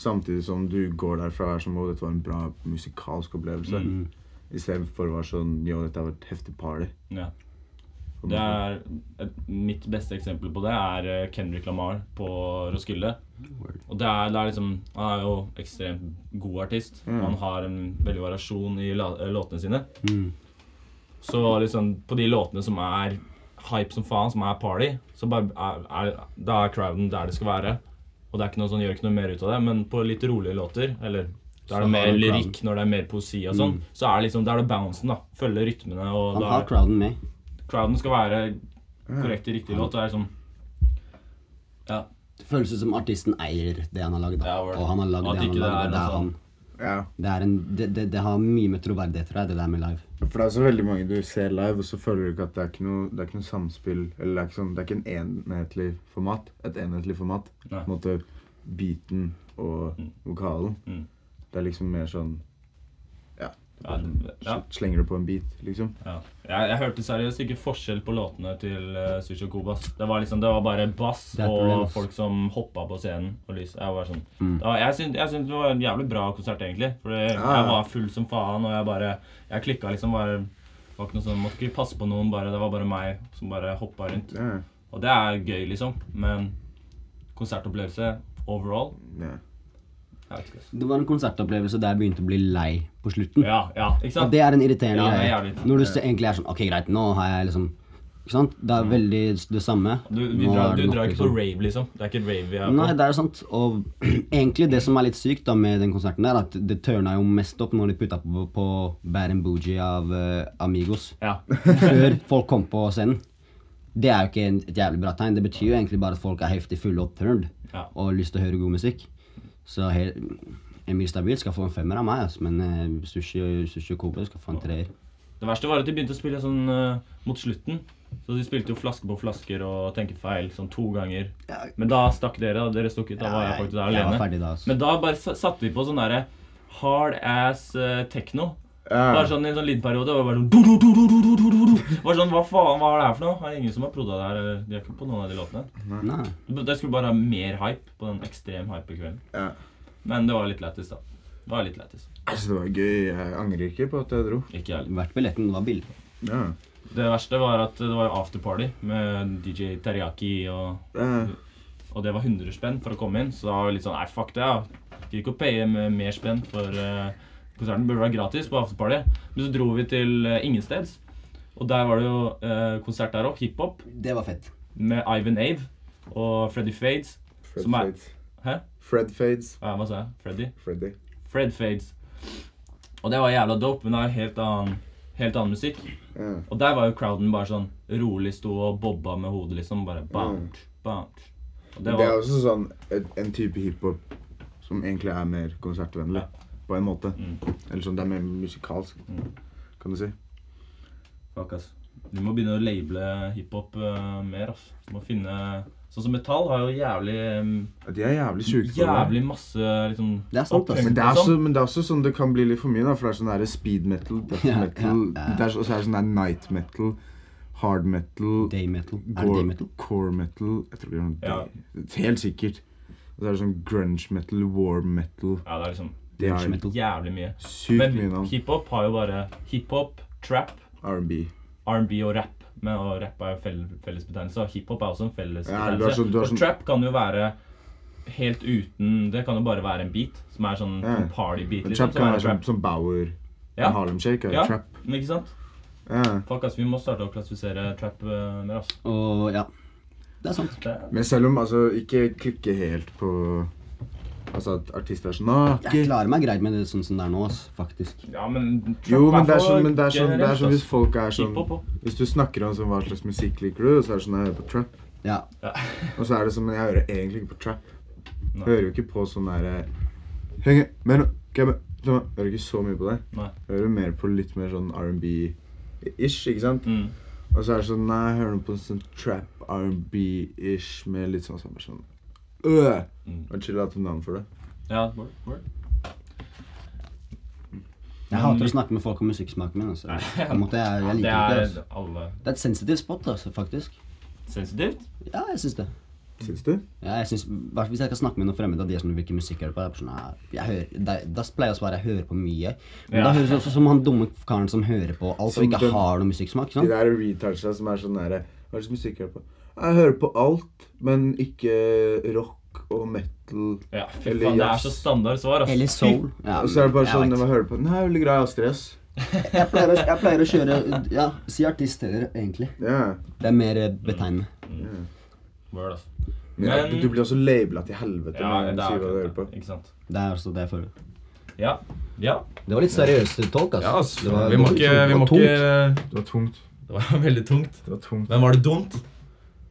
[SPEAKER 3] Samtidig som du går derfra og er sånn Å, dette var en bra musikalsk opplevelse. Istedenfor å være sånn Yo, dette var et heftig party.
[SPEAKER 2] Ja. Det er et, mitt beste eksempel på det er eh, Kendrick Lamar på Roskilde. Og det er, det er liksom Han er jo ekstremt god artist.
[SPEAKER 4] Mm.
[SPEAKER 2] Han har en veldig variasjon i la, eh, låtene sine.
[SPEAKER 4] Mm.
[SPEAKER 2] Så liksom på de låtene som er hype som faen, som er party, så bare er, er, da er crowden der det skal være. Og det er ikke noe sånn, gjør ikke noe mer ut av det. Men på litt rolige låter, eller da
[SPEAKER 4] Så
[SPEAKER 2] er det mer
[SPEAKER 4] har du crowden. Mm.
[SPEAKER 2] lyrikk, når det er mer poesi og sånn, så er det liksom, da er det bouncen, da. Følge rytmene og
[SPEAKER 4] Han
[SPEAKER 2] da
[SPEAKER 4] har crowden med.
[SPEAKER 2] crowden skal være korrekt i riktig låt. Det er liksom Ja.
[SPEAKER 4] Det føles ut som artisten eier det han har lagd.
[SPEAKER 2] Ja, vel.
[SPEAKER 4] Og han har lagd
[SPEAKER 2] At
[SPEAKER 4] det han
[SPEAKER 2] ikke
[SPEAKER 4] har lagd.
[SPEAKER 2] det
[SPEAKER 4] og
[SPEAKER 2] er
[SPEAKER 4] Det,
[SPEAKER 2] altså-
[SPEAKER 4] er
[SPEAKER 2] noe
[SPEAKER 4] han.
[SPEAKER 3] Ja.
[SPEAKER 4] det, er en, det, det, det har mye med troverdighet, tror jeg, det der med live.
[SPEAKER 3] For det er så veldig mange du ser live, og så føler du ikke at det er ikke noe, det er ikke noe samspill Eller det er ikke, sånn, det er ikke en enhetlig format. Et enhetlig format. På
[SPEAKER 2] Nei.
[SPEAKER 3] en måte beaten og vokalen.
[SPEAKER 2] Mm.
[SPEAKER 3] Det er liksom mer sånn Ja.
[SPEAKER 2] ja, ja.
[SPEAKER 3] Slenger du på en beat, liksom.
[SPEAKER 2] ja. Jeg, jeg hørte seriøst ikke forskjell på låtene til uh, Sushi og Kobas. Det var liksom, det var bare bass
[SPEAKER 4] Det er et problem,
[SPEAKER 2] og
[SPEAKER 4] ass.
[SPEAKER 2] folk som hoppa på scenen og lys. Jeg var sånn Det var- Jeg syns jeg syns det var en jævlig bra konsert, egentlig. For jeg
[SPEAKER 3] Ja, ja.
[SPEAKER 2] var full som faen, og jeg bare Jeg klikka liksom bare det var ikke noe sånn, Måtte ikke passe på noen, bare. Det var bare meg som bare hoppa rundt.
[SPEAKER 3] Ja.
[SPEAKER 2] Og det er gøy, liksom. Men konsertopplevelse overall
[SPEAKER 3] ja.
[SPEAKER 2] Jeg vet ikke. ass.
[SPEAKER 4] Det var en konsertopplevelse der jeg begynte å bli lei på slutten.
[SPEAKER 2] Ja, ja, ikke sant?
[SPEAKER 4] Og det er en irriterende
[SPEAKER 2] Ja, det er
[SPEAKER 4] greie.
[SPEAKER 2] jævlig irriterende.
[SPEAKER 4] Når du se- egentlig er sånn Ok, greit, nå har jeg liksom Ikke sant? Det er veldig det samme.
[SPEAKER 2] Mm. Du, vi
[SPEAKER 4] Nå
[SPEAKER 2] drar,
[SPEAKER 4] er det
[SPEAKER 2] du
[SPEAKER 4] nok,
[SPEAKER 2] drar ikke på
[SPEAKER 4] liksom.
[SPEAKER 2] rave, liksom. Det er ikke rave vi er på.
[SPEAKER 4] Nei, det er sant. Og (clears throat) egentlig det som er litt sykt da med den konserten, der, at det tørna jo mest opp når de putta på, på Bad and Bougie av eh, Amigos
[SPEAKER 2] Ja. (laughs)
[SPEAKER 4] før folk kom på scenen. Det er jo ikke en- et jævlig bra tegn. Det betyr jo egentlig bare at folk er heftig fulle og turned
[SPEAKER 2] Ja.
[SPEAKER 4] og har lyst til å høre god musikk. Så he Emil Stabil skal få en femmer av meg, altså, men eh, Sushi, sushi og Kobe skal få en treer.
[SPEAKER 2] Det verste var at de begynte å spille sånn eh, mot slutten. Så de spilte jo flaske på flasker og tenke feil sånn to ganger. Men da stakk dere, og dere stukk ut. Da var jeg faktisk der
[SPEAKER 4] jeg var
[SPEAKER 2] alene.
[SPEAKER 4] ferdig da, altså.
[SPEAKER 2] Men da bare sa- satte vi på sånn derre hard ass eh, techno.
[SPEAKER 3] Ja.
[SPEAKER 2] Bare sånn i en sånn lydperiode. Var det bare sånn, du, du, du, du, du, du, du, du. Bare sånn Hva faen, hva er det her for noe? Det er ingen som har prodda det her. eller De er ikke på noen av de låtene.
[SPEAKER 4] Nei.
[SPEAKER 2] Det skulle bare være mer hype på den ekstrem hype-kvelden.
[SPEAKER 3] ja.
[SPEAKER 2] Men det var litt lættis, da. Det var litt lættis.
[SPEAKER 3] Altså, det var gøy. Jeg angrer ikke på at jeg dro.
[SPEAKER 2] Ikke jeg
[SPEAKER 4] Hvert billetten var billig.
[SPEAKER 3] Ja.
[SPEAKER 2] Det verste var at det var afterparty med DJ Teriyaki og
[SPEAKER 3] Ja.
[SPEAKER 2] Og det var 100 spenn for å komme inn, så da var vi litt sånn Nei, fuck det, ja. Gidder ikke å paye med mer spenn for eh, konserten. Burde være gratis på afterparty. Men så dro vi til eh, ingensteds, og der var det jo eh, konsert der òg. Hiphop
[SPEAKER 4] Det var fett.
[SPEAKER 2] med Ivan Ave og Freddy Fades.
[SPEAKER 3] Fred
[SPEAKER 2] Som er-
[SPEAKER 3] Fades.
[SPEAKER 2] Hæ?
[SPEAKER 3] Fred Fades.
[SPEAKER 2] Ja, hva sa jeg? Freddy?
[SPEAKER 3] Freddy.
[SPEAKER 2] Fred Fades. Og det var jævla dope, men det er jo helt annen, helt annen musikk.
[SPEAKER 3] Ja.
[SPEAKER 2] Og der var jo crowden bare sånn rolig sto og bobba med hodet, liksom. Bare bam,
[SPEAKER 3] Mm.
[SPEAKER 2] bam. Og
[SPEAKER 3] Det,
[SPEAKER 2] det
[SPEAKER 3] er
[SPEAKER 2] var
[SPEAKER 3] også sånn et, en type hiphop som egentlig er mer konsertvennlig. På en måte.
[SPEAKER 2] Mm.
[SPEAKER 3] Eller sånn, det er mer musikalsk, kan du si.
[SPEAKER 2] Fuck, ass. Vi må begynne å label hiphop eh, mer, ass. Vi Må finne Sånn som metall har jo jævlig em,
[SPEAKER 3] Ja, De er jævlig sjuke på det.
[SPEAKER 2] Jævlig masse liksom
[SPEAKER 4] Det er sant, ass.
[SPEAKER 3] Men det, er
[SPEAKER 2] liksom.
[SPEAKER 3] også, men det er også sånn det kan bli litt for mye, da, for det er sånn der speed metal, death
[SPEAKER 4] Ja, ja,
[SPEAKER 3] metal,
[SPEAKER 4] ja.
[SPEAKER 3] det er så- og så er det sånn der night metal, hard metal,
[SPEAKER 4] Day metal. Er det
[SPEAKER 3] gore,
[SPEAKER 4] day metal?
[SPEAKER 3] core metal Jeg tror det er noe
[SPEAKER 2] Ja.
[SPEAKER 3] day- Helt sikkert. Og så er det sånn grunge metal, war metal
[SPEAKER 2] Ja, det er liksom
[SPEAKER 3] Det
[SPEAKER 4] Grunge
[SPEAKER 3] er
[SPEAKER 4] metal.
[SPEAKER 2] jævlig mye.
[SPEAKER 3] sykt mye
[SPEAKER 2] Men
[SPEAKER 3] navn.
[SPEAKER 2] hiphop har jo bare hiphop, trap,
[SPEAKER 3] R&B.
[SPEAKER 2] R&B og rap. Men og rap er jo fell, fellesbetegnelse, og hiphop er også en
[SPEAKER 3] Ja, du er
[SPEAKER 2] fellesbetegnelse.
[SPEAKER 3] sånn- du er
[SPEAKER 2] For
[SPEAKER 3] sånn-
[SPEAKER 2] trap kan jo være helt uten Det kan jo bare være en beat, som er sånn
[SPEAKER 3] Ja.
[SPEAKER 2] en party-beat.
[SPEAKER 3] Men
[SPEAKER 2] Liksom,
[SPEAKER 3] trap
[SPEAKER 2] som
[SPEAKER 3] kan
[SPEAKER 2] er
[SPEAKER 3] være sånn
[SPEAKER 2] trap.
[SPEAKER 3] som Bauer.
[SPEAKER 2] Ja.
[SPEAKER 3] Harlem Shake er jo
[SPEAKER 2] Ja.
[SPEAKER 3] trap.
[SPEAKER 2] Men Ikke sant?
[SPEAKER 3] Ja.
[SPEAKER 2] Fuck, ass, vi må starte å klassifisere trap eh, mer, ass.
[SPEAKER 4] Og ja. Det er sant.
[SPEAKER 2] Det,
[SPEAKER 3] Men selv om altså ikke klikke helt på Altså at artister er sånn «Nå,
[SPEAKER 4] Jeg
[SPEAKER 3] ikke
[SPEAKER 4] klarer meg greit med det sånn som det er nå, ass. Faktisk.
[SPEAKER 2] ja, men trap
[SPEAKER 3] Jo, men det er
[SPEAKER 2] for
[SPEAKER 3] sånn, men det er sånn, det er
[SPEAKER 2] generelt,
[SPEAKER 3] sånn hvis
[SPEAKER 2] ass.
[SPEAKER 3] folk er sånn
[SPEAKER 2] Hiphop også.
[SPEAKER 3] Hvis du snakker om sånn, hva slags musikk liker du, så er det sånn jeg hører på trap.
[SPEAKER 4] Ja.
[SPEAKER 2] Ja.
[SPEAKER 3] Og så er det sånn Men jeg hører egentlig ikke på trap.
[SPEAKER 2] Nei.
[SPEAKER 3] Jeg hører jo ikke på sånn derre Henge men, okay, men, sånn, jeg Hører ikke så mye på det.
[SPEAKER 2] Nei.
[SPEAKER 3] Jeg hører mer på litt mer sånn R&B-ish, ikke sant?
[SPEAKER 2] Mm.
[SPEAKER 3] Og så er det sånn Nei, jeg hører noe på sånn trap R&B-ish med litt sånn samme sånn Øh!
[SPEAKER 2] Mm.
[SPEAKER 3] Og chill at du navn for det.
[SPEAKER 2] Ja, word, word.
[SPEAKER 4] Jeg hater å snakke med folk om musikksmaken min. altså. På en måte, jeg, jeg
[SPEAKER 2] Det
[SPEAKER 4] liker
[SPEAKER 2] er
[SPEAKER 4] det ikke. Altså.
[SPEAKER 2] alle
[SPEAKER 4] Det er et sensitivt spot, altså, faktisk.
[SPEAKER 2] sensitivt.
[SPEAKER 4] Ja, jeg syns det.
[SPEAKER 3] Syns du?
[SPEAKER 4] Ja, jeg synes, hvert- Hvis jeg skal snakke med noen fremmede, og de er sånn, hvilken musikk er det på? Jeg er bare sånn, «Nei, jeg hører, da, da pleier jeg å svare jeg hører på mye. Men
[SPEAKER 2] Ja.
[SPEAKER 4] da høres det også som han dumme karen som hører på alt
[SPEAKER 3] Som
[SPEAKER 4] og ikke
[SPEAKER 3] den-
[SPEAKER 4] har noe musikksmak. ikke
[SPEAKER 3] De
[SPEAKER 4] sant?
[SPEAKER 3] der retardsa som er sånn derre Hva slags musikk hører du på? Jeg hører på alt, men ikke rock og metal.
[SPEAKER 2] Ja, fy
[SPEAKER 3] Eller
[SPEAKER 2] faen, det er
[SPEAKER 3] jazz.
[SPEAKER 2] så standard svar, ass.
[SPEAKER 4] Eller soul. Ja,
[SPEAKER 3] og så er det bare
[SPEAKER 4] jeg
[SPEAKER 3] sånn
[SPEAKER 4] vet.
[SPEAKER 3] Hva hører du på? Nei, jeg er veldig glad i Astrid S.
[SPEAKER 4] Jeg pleier, å, jeg pleier å kjøre Ja, si artist heller, egentlig.
[SPEAKER 3] Ja.
[SPEAKER 4] Det er mer eh, betegnende.
[SPEAKER 2] Word, ass.
[SPEAKER 3] Men, ja,
[SPEAKER 2] Men-
[SPEAKER 3] du blir også labela til helvete
[SPEAKER 2] Ja,
[SPEAKER 3] med
[SPEAKER 2] det
[SPEAKER 3] en
[SPEAKER 2] er
[SPEAKER 3] sier hva du hører på.
[SPEAKER 2] Ikke sant.
[SPEAKER 4] Det er altså det jeg føler.
[SPEAKER 2] Ja. Ja.
[SPEAKER 4] Det var litt seriøst talk, altså.
[SPEAKER 5] Ja, ass.
[SPEAKER 4] Det var-
[SPEAKER 5] Vi må ikke, vi må
[SPEAKER 4] det var tungt.
[SPEAKER 5] ikke
[SPEAKER 3] Det var tungt.
[SPEAKER 5] Det var (laughs) veldig tungt.
[SPEAKER 3] Det var tungt.
[SPEAKER 5] Men var det dumt?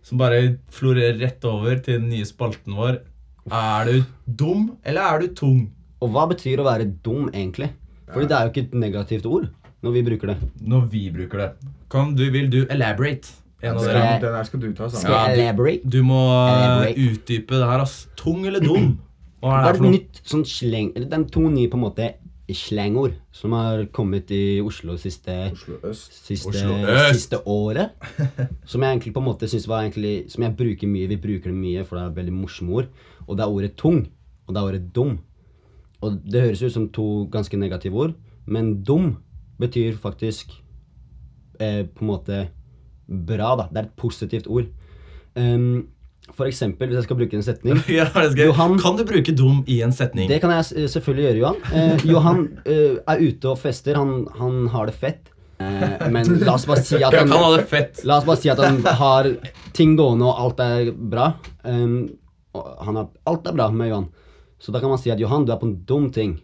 [SPEAKER 5] Som bare florerer rett over til den nye spalten vår. Er du dum, eller er du tung?
[SPEAKER 4] Og hva betyr å være dum, egentlig? Fordi det er jo ikke et negativt ord når vi bruker det.
[SPEAKER 5] Når vi bruker det. Kan du, vil du elaborate? En av
[SPEAKER 3] Den
[SPEAKER 5] dere.
[SPEAKER 3] her- den her skal du ta sammen.
[SPEAKER 4] Skal jeg
[SPEAKER 5] du-
[SPEAKER 4] elaborate?
[SPEAKER 5] Du må eh,
[SPEAKER 4] Elaborate.
[SPEAKER 5] utdype det her, ass. Tung eller dum?
[SPEAKER 4] (clears throat)
[SPEAKER 5] Hva er
[SPEAKER 4] Hva er
[SPEAKER 5] det
[SPEAKER 4] et
[SPEAKER 5] for noe?
[SPEAKER 4] nytt sånn sleng... Eller det er to nye på en måte slengord som har kommet i Oslo siste
[SPEAKER 3] Oslo øst.
[SPEAKER 4] Siste,
[SPEAKER 5] Oslo øst.
[SPEAKER 4] siste året. Som jeg egentlig på en måte synes var egentlig Som jeg bruker mye. Vi bruker det mye, for det er veldig morsomme ord. Og det er ordet tung. Og det er ordet dum. Og det høres ut som to ganske negative ord, men dum betyr faktisk eh, på en måte bra, da. Det er et positivt ord. Ehm, for eksempel, hvis jeg skal bruke en setning
[SPEAKER 5] (laughs) Ja, det skal jeg-
[SPEAKER 4] Johan-
[SPEAKER 5] Kan du bruke dum i en setning?
[SPEAKER 4] det kan jeg s- selvfølgelig gjøre, Johan. Eh, Johan eh, er ute og fester. Han, han har det fett. Eh, men la oss bare si at
[SPEAKER 5] Ja,
[SPEAKER 4] han,
[SPEAKER 5] kan ha det fett.
[SPEAKER 4] la oss bare si at han har ting gående, og alt er bra. Um, og han har, alt er bra med Johan. Så da kan man si at Johan, du er på en dum ting.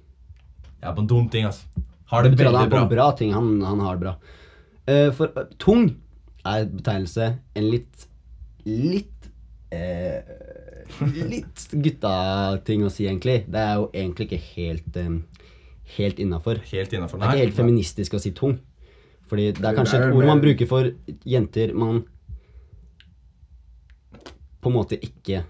[SPEAKER 5] Jeg er på en dum ting, ass. Har det
[SPEAKER 4] Det betyr at han
[SPEAKER 5] veldig
[SPEAKER 4] er på
[SPEAKER 5] bra.
[SPEAKER 4] en bra ting. Han, han har det bra. Eh, for eh, tung er betegnelse en litt litt eh, litt gutta-ting å si, egentlig. Det er jo egentlig ikke helt eh, helt innafor. Det
[SPEAKER 5] Helt innafor.
[SPEAKER 4] er ikke helt feministisk å si tung. Fordi det er kanskje
[SPEAKER 3] Det er
[SPEAKER 4] et ord man
[SPEAKER 3] mer-
[SPEAKER 4] bruker for jenter man på en måte ikke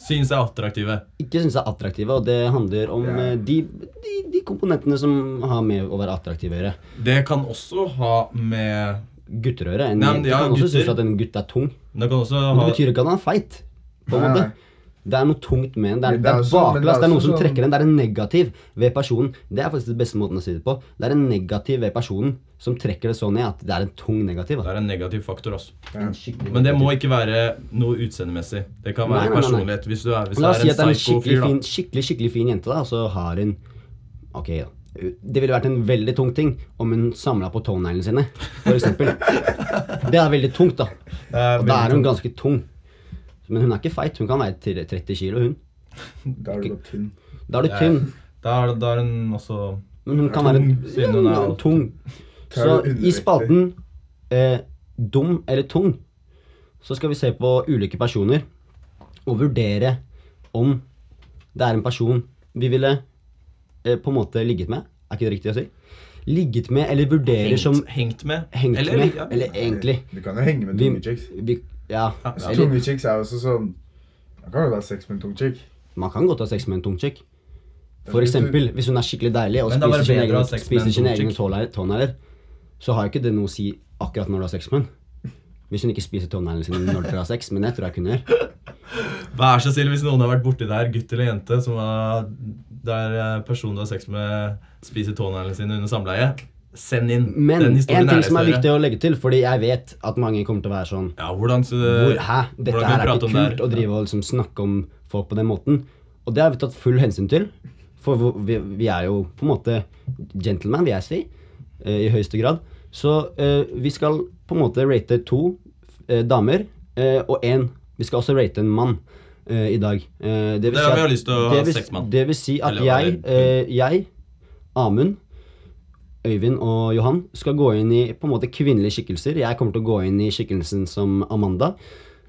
[SPEAKER 5] Synes jeg er attraktive.
[SPEAKER 4] ikke syns er attraktive, og det handler om
[SPEAKER 3] Ja.
[SPEAKER 4] eh, de, de, de komponentene som har med å være attraktive å gjøre.
[SPEAKER 5] Det kan også ha med
[SPEAKER 4] gutterøre. En
[SPEAKER 5] Nei, men
[SPEAKER 4] jente
[SPEAKER 5] ja,
[SPEAKER 4] kan også
[SPEAKER 5] gutter.
[SPEAKER 4] synes at en gutt er tung.
[SPEAKER 5] Det kan også
[SPEAKER 4] Men det
[SPEAKER 5] ha
[SPEAKER 4] betyr ikke at han er feit. på en
[SPEAKER 3] Nei,
[SPEAKER 4] måte.
[SPEAKER 3] nei.
[SPEAKER 4] Det er noe tungt med den. Det er,
[SPEAKER 6] Men
[SPEAKER 4] det
[SPEAKER 6] det
[SPEAKER 4] er
[SPEAKER 6] er også- men det er
[SPEAKER 4] baklengs. Det er noe
[SPEAKER 6] også
[SPEAKER 4] som
[SPEAKER 6] sånn-
[SPEAKER 4] trekker den. Det er en negativ ved personen. Det er faktisk den beste måten å si det på. Det er en negativ ved personen som trekker det så ned at det er en tung negativ.
[SPEAKER 2] Det
[SPEAKER 4] Da.
[SPEAKER 2] er en negativ faktor også.
[SPEAKER 4] En skikkelig
[SPEAKER 2] Men det må
[SPEAKER 4] negativ.
[SPEAKER 2] ikke være noe utseendemessig. Det kan
[SPEAKER 4] Nei,
[SPEAKER 2] være
[SPEAKER 4] nei, nei.
[SPEAKER 2] personlighet. Hvis du er, hvis
[SPEAKER 4] La oss
[SPEAKER 2] det
[SPEAKER 4] si
[SPEAKER 2] er
[SPEAKER 4] at det er
[SPEAKER 2] en
[SPEAKER 4] en
[SPEAKER 2] psycho
[SPEAKER 4] skikkelig
[SPEAKER 2] fyr,
[SPEAKER 4] fin,
[SPEAKER 2] da.
[SPEAKER 4] skikkelig, skikkelig fin jente, da, og så har hun Ok, da. Det ville vært en veldig tung ting om hun samla på tåneglene sine, f.eks.
[SPEAKER 2] (laughs)
[SPEAKER 4] Det er veldig tungt, da. Og da er hun ganske tung. Men hun er ikke feit. Hun kan veie til 30 kilo, hun.
[SPEAKER 6] Da er du bare tynn.
[SPEAKER 4] Da er du
[SPEAKER 2] Det er-
[SPEAKER 4] tynn.
[SPEAKER 2] Da er, da er hun også
[SPEAKER 4] Men hun kan være
[SPEAKER 2] siden hun er
[SPEAKER 4] ja,
[SPEAKER 2] alt.
[SPEAKER 4] tung.
[SPEAKER 6] Tar
[SPEAKER 4] Så
[SPEAKER 6] du undervekter?
[SPEAKER 4] i spalten eh, dum eller tung, så skal vi se på ulike personer og vurdere om det er en person vi ville eh, på en måte ligget med. Er ikke det riktig å si? Ligget med eller vurderer
[SPEAKER 2] hengt,
[SPEAKER 4] som
[SPEAKER 2] hengt med.
[SPEAKER 4] hengt
[SPEAKER 2] Eller-
[SPEAKER 4] med.
[SPEAKER 2] ja.
[SPEAKER 4] Eller egentlig
[SPEAKER 6] Du kan jo henge med
[SPEAKER 4] Vi-
[SPEAKER 6] tunge chicks.
[SPEAKER 4] vi, Ja.
[SPEAKER 2] Ja,
[SPEAKER 6] Så
[SPEAKER 4] Eller,
[SPEAKER 6] Tunge chicks er jo også sånn Man kan jo ha sex med en tung chick.
[SPEAKER 4] man kan godt ha sex med en tung chick.
[SPEAKER 6] Det er
[SPEAKER 4] For
[SPEAKER 6] sånn at du-
[SPEAKER 4] eksempel, hvis hun er skikkelig deilig og
[SPEAKER 2] Men det er bare
[SPEAKER 4] spiser sine
[SPEAKER 2] bedre å
[SPEAKER 4] egne,
[SPEAKER 2] ha sex med
[SPEAKER 4] spiser
[SPEAKER 2] en
[SPEAKER 4] sine
[SPEAKER 2] tung
[SPEAKER 4] egne
[SPEAKER 2] chick.
[SPEAKER 4] tånegler- tånegler, så har jo ikke det noe å si akkurat når du har sex med henne. Hvis hun ikke spiser tåneglene sine når dere har sex, men jeg tror jeg kunne gjøre.
[SPEAKER 2] Vær så snill, hvis noen har vært borti der, gutt eller jente, som har, der eh, personen du har sex med, spiser tåneglene sine under samleie, send inn.
[SPEAKER 4] Men
[SPEAKER 2] Den
[SPEAKER 4] en
[SPEAKER 2] historien
[SPEAKER 4] ting som er
[SPEAKER 2] litt
[SPEAKER 4] viktig å legge til, fordi jeg vet at mange kommer til å være sånn
[SPEAKER 2] Ja, hvordan så,
[SPEAKER 4] Hvor, Hæ? Dette
[SPEAKER 2] hvordan kan
[SPEAKER 4] her
[SPEAKER 2] vi
[SPEAKER 4] er
[SPEAKER 2] prate
[SPEAKER 4] ikke
[SPEAKER 2] om det her?
[SPEAKER 4] kult å drive og liksom snakke om folk på den måten. Og det har vi tatt full hensyn til. For hvor- vi, vi er jo på en måte gentleman, vil jeg si. eh, I høyeste grad. Så eh, vi skal på en måte rate to eh, damer eh, og én. Vi skal også rate en mann eh, i dag. Eh, det vil
[SPEAKER 2] Det er
[SPEAKER 4] si
[SPEAKER 2] da
[SPEAKER 4] at-
[SPEAKER 2] vi har lyst til å
[SPEAKER 4] det
[SPEAKER 2] ha
[SPEAKER 4] vil-
[SPEAKER 2] sex med han.
[SPEAKER 4] Det vil si at
[SPEAKER 2] Eller-
[SPEAKER 4] jeg,
[SPEAKER 2] eller-
[SPEAKER 4] eh, jeg, Amund Øyvind og Johan skal gå inn i på en måte kvinnelige skikkelser. Jeg kommer til å gå inn i skikkelsen som Amanda.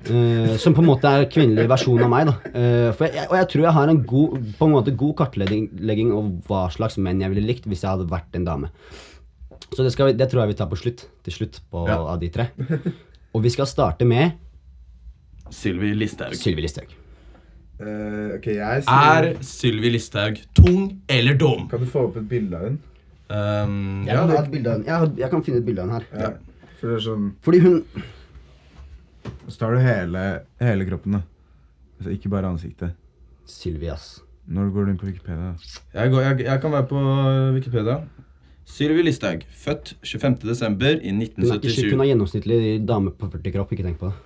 [SPEAKER 4] eh, som på en måte er kvinnelig versjon av meg. da Eh, for jeg, Og jeg tror jeg har en god På en måte god kartlegging legging av hva slags menn jeg ville likt hvis jeg hadde vært en dame. Så det, skal vi, det tror jeg vi tar på slutt. Til slutt på,
[SPEAKER 2] Ja.
[SPEAKER 4] av de tre. Og vi skal starte med
[SPEAKER 2] Sylvi Listhaug.
[SPEAKER 4] Sylvi Listhaug.
[SPEAKER 6] Eh, ok, jeg sier
[SPEAKER 2] Er Sylvi Listhaug tung eller dum?
[SPEAKER 6] Kan du få opp et bilde av henne?
[SPEAKER 2] Um,
[SPEAKER 4] Jeg,
[SPEAKER 2] ja,
[SPEAKER 4] kan ha
[SPEAKER 2] det,
[SPEAKER 4] et bilde av den. jeg, har- jeg kan finne et bilde av den her.
[SPEAKER 6] Ja. For det er sånn
[SPEAKER 4] Fordi hun
[SPEAKER 3] Så tar du hele, hele kroppen, da. Altså, ikke bare ansiktet.
[SPEAKER 4] Sylvi, ass.
[SPEAKER 3] Når går du inn på Wikipedia?
[SPEAKER 5] Jeg, går, jeg, jeg kan være på
[SPEAKER 2] eh,
[SPEAKER 5] Wikipedia. Sylvi Listhaug, født 25. desember i
[SPEAKER 4] Hun er ikke syk, hun er gjennomsnittlig dame på 40 kropp. Ikke tenk på det.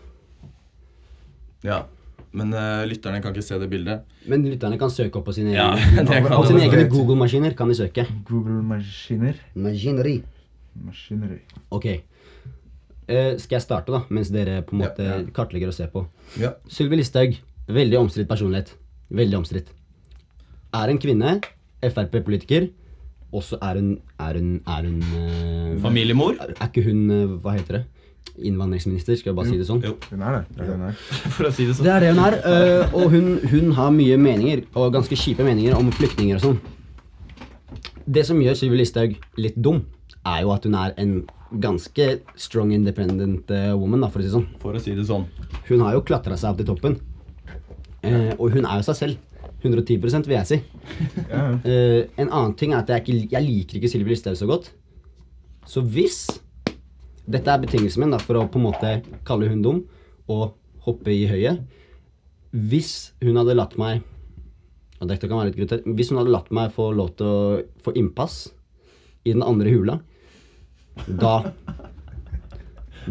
[SPEAKER 5] Ja, men eh, lytterne kan ikke se det bildet.
[SPEAKER 4] Men lytterne kan søke opp på sine
[SPEAKER 5] Ja,
[SPEAKER 2] (laughs)
[SPEAKER 4] egne,
[SPEAKER 5] det kan
[SPEAKER 4] på
[SPEAKER 5] de.
[SPEAKER 4] sine egne Google-maskiner. kan de søke.
[SPEAKER 3] Google-maskiner.
[SPEAKER 4] Maskineri.
[SPEAKER 3] Maskineri.
[SPEAKER 4] Ok. Eh, skal jeg starte, da, mens dere på en måte kartlegger og ser på?
[SPEAKER 5] Ja.
[SPEAKER 4] Sylvi Listhaug, veldig omstridt personlighet. Veldig omstridt. Er en kvinne, Frp-politiker, og så er hun Er hun, er hun eh,
[SPEAKER 2] familiemor? (laughs)
[SPEAKER 4] Er er ikke hun eh, Hva heter det? Innvandringsminister, skal jeg bare si det sånn.
[SPEAKER 2] Jo.
[SPEAKER 3] Hun er det. det, er det hun er.
[SPEAKER 2] For å si det sånn.
[SPEAKER 4] Det er det hun er. øh, og hun, hun har mye meninger, og ganske kjipe meninger, om flyktninger og sånn. Det som gjør Sylvi Listhaug litt dum, er jo at hun er en ganske strong independent eh, woman, da, for å si det sånn.
[SPEAKER 2] For å si det sånn.
[SPEAKER 4] Hun har jo klatra seg opp til toppen. Eh, og hun er jo seg selv. 110 vil jeg si. Eh, en annen ting er at jeg, ikke, jeg liker ikke Sylvi Listhaug så godt. Så hvis Dette er betingelsen min da, for å på en måte kalle hun dum og hoppe i høyet. Hvis hun hadde latt meg og dette kan være litt grunter, Hvis hun hadde latt meg få lov til å få innpass i den andre hula, da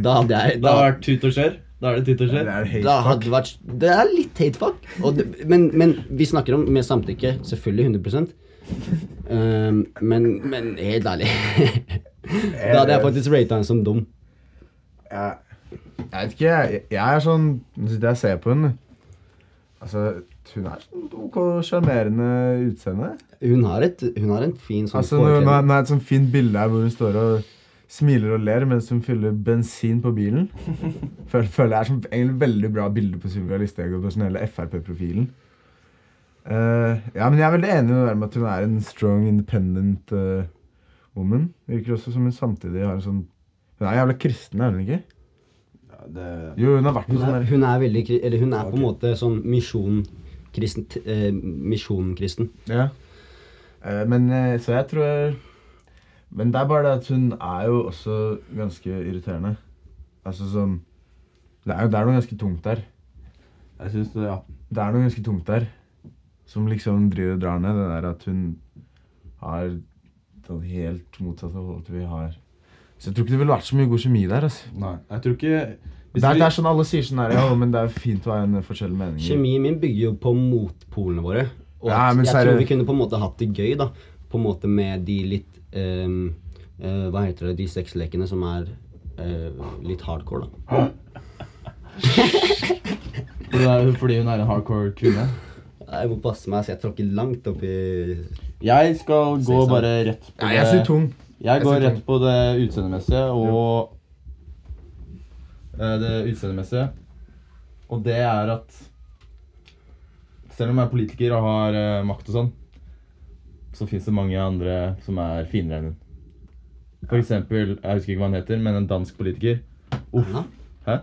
[SPEAKER 4] Da hadde jeg
[SPEAKER 2] Da har det vært tut og kjør. Da er det tut og
[SPEAKER 3] Det
[SPEAKER 2] kjør.
[SPEAKER 3] er helt
[SPEAKER 4] da hadde det vært, det er litt hate fuck. Og det, men, men vi snakker om med samtykke, selvfølgelig 100 Ehm, men, men helt ærlig (laughs) Da hadde jeg faktisk rata henne som dum.
[SPEAKER 3] jeg, jeg vet ikke, jeg, jeg er sånn Nå sitter jeg og ser på henne. Altså, hun er sånn ok sjarmerende utseende.
[SPEAKER 4] Hun har, et, hun har en fin sånn
[SPEAKER 3] Altså, nå, nå, nå
[SPEAKER 4] forekledning.
[SPEAKER 3] er det et sånt fint bilde her hvor hun står og smiler og ler mens hun fyller bensin på
[SPEAKER 4] (laughs)
[SPEAKER 3] bilen. Føler, føler jeg er sånn, egentlig veldig bra bilde på sånn Sylvia Listhaug og personelle Frp-profilen. Eh, ja, men jeg er veldig enig med det der med at hun er en strong, independent eh, woman. Virker også som hun samtidig har en sånn Hun er jævla kristen, er hun ikke? Jo, hun har vært på
[SPEAKER 4] Hun
[SPEAKER 3] sånn der
[SPEAKER 4] er, hun er veldig kri- Eller hun er på en måte sånn misjonkristen. Eh, misjonkristen.
[SPEAKER 3] Ja. Eh, men eh, så jeg tror jeg Men det er bare det at hun er jo også ganske irriterende. Altså sånn Det er jo det er noe ganske tungt der.
[SPEAKER 5] Jeg synes, det, ja.
[SPEAKER 7] Det er noe ganske tungt der. Som liksom driver og drar ned. Det der at hun har sånn helt motsatt av alt vi har. Så jeg tror ikke det ville vært så mye god kjemi der. altså.
[SPEAKER 2] Nei, jeg tror ikke
[SPEAKER 7] Det er, det er sånn alle sier sånn her, ja, men det er fint å ha en forskjellig mening.
[SPEAKER 4] Mm. Kjemien min bygger jo på motpolene våre. Og
[SPEAKER 7] Nei,
[SPEAKER 4] at
[SPEAKER 7] men
[SPEAKER 4] jeg
[SPEAKER 7] seriø-
[SPEAKER 4] tror vi kunne på en måte hatt det gøy, da. På en måte med de litt ehm, eh, Hva heter det, de sexlekene som er eh, litt hardcore, da.
[SPEAKER 2] Det er jo (laughs) fordi hun er en hardcore kvinne.
[SPEAKER 4] Jeg må passe meg så jeg tråkker langt opp i
[SPEAKER 2] Jeg skal gå
[SPEAKER 4] Sexy.
[SPEAKER 2] bare rett på
[SPEAKER 7] Nei, jeg sier tung.
[SPEAKER 2] Jeg
[SPEAKER 7] Jeg
[SPEAKER 2] går
[SPEAKER 7] sier
[SPEAKER 2] rett på det utseendemessige og Eh, Det utseendemessige. Og det er at selv om jeg er politiker og har eh, makt og sånn, så fins det mange andre som er finere enn hun. For eksempel, jeg husker ikke hva han heter, men en dansk politiker. Uff.
[SPEAKER 4] Erna.
[SPEAKER 2] Hæ?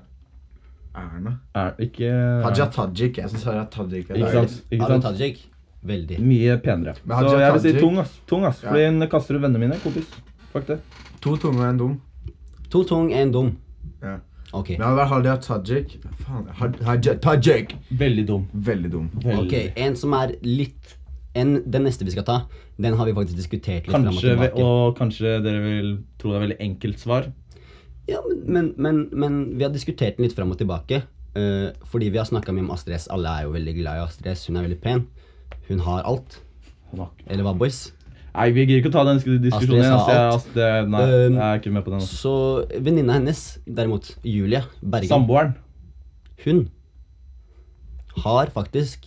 [SPEAKER 7] Erna.
[SPEAKER 2] Er ikke
[SPEAKER 7] Haja Tajik. Jeg syns Haja Tajik er
[SPEAKER 2] Ikke sant? Ikke
[SPEAKER 4] Aru
[SPEAKER 2] sant?
[SPEAKER 4] Tajik. Veldig.
[SPEAKER 2] Mye penere.
[SPEAKER 7] Men
[SPEAKER 2] Så
[SPEAKER 7] Hadia
[SPEAKER 2] jeg vil si
[SPEAKER 7] Tajik-
[SPEAKER 2] tung, ass. Tung, ass.
[SPEAKER 7] Ja.
[SPEAKER 2] Fordi hun kaster ut vennene mine. Kompis. Fuck det.
[SPEAKER 7] To tunge og en dum.
[SPEAKER 4] To tung, én dum.
[SPEAKER 7] Ja.
[SPEAKER 4] Ok.
[SPEAKER 7] Men han der Hadia Tajik Faen. Had- Haja Tajik.
[SPEAKER 2] Veldig dum.
[SPEAKER 7] Veldig dum.
[SPEAKER 2] Veldig.
[SPEAKER 4] Ok, En som er litt en, Den neste vi skal ta, den har vi faktisk diskutert litt frem og
[SPEAKER 2] Kanskje,
[SPEAKER 4] tilbake.
[SPEAKER 2] ve- og kanskje dere vil tro det er veldig enkelt svar.
[SPEAKER 4] Ja, men, men, men, men vi har diskutert den litt fram og tilbake. eh, fordi vi har snakka mye om Astrid S. Alle er jo veldig glad i Astrid S. Hun er veldig pen. Hun har alt. Eller hva, boys?
[SPEAKER 2] Nei, vi gidder ikke å ta den sk- diskusjonen igjen.
[SPEAKER 4] Astrid sa
[SPEAKER 2] ass. Jeg,
[SPEAKER 4] alt.
[SPEAKER 2] ass, det, nei,
[SPEAKER 4] Um,
[SPEAKER 2] jeg er ikke med på den. ass.
[SPEAKER 4] Så venninna hennes, derimot, Julie Bergen,
[SPEAKER 2] Samboeren.
[SPEAKER 4] hun har faktisk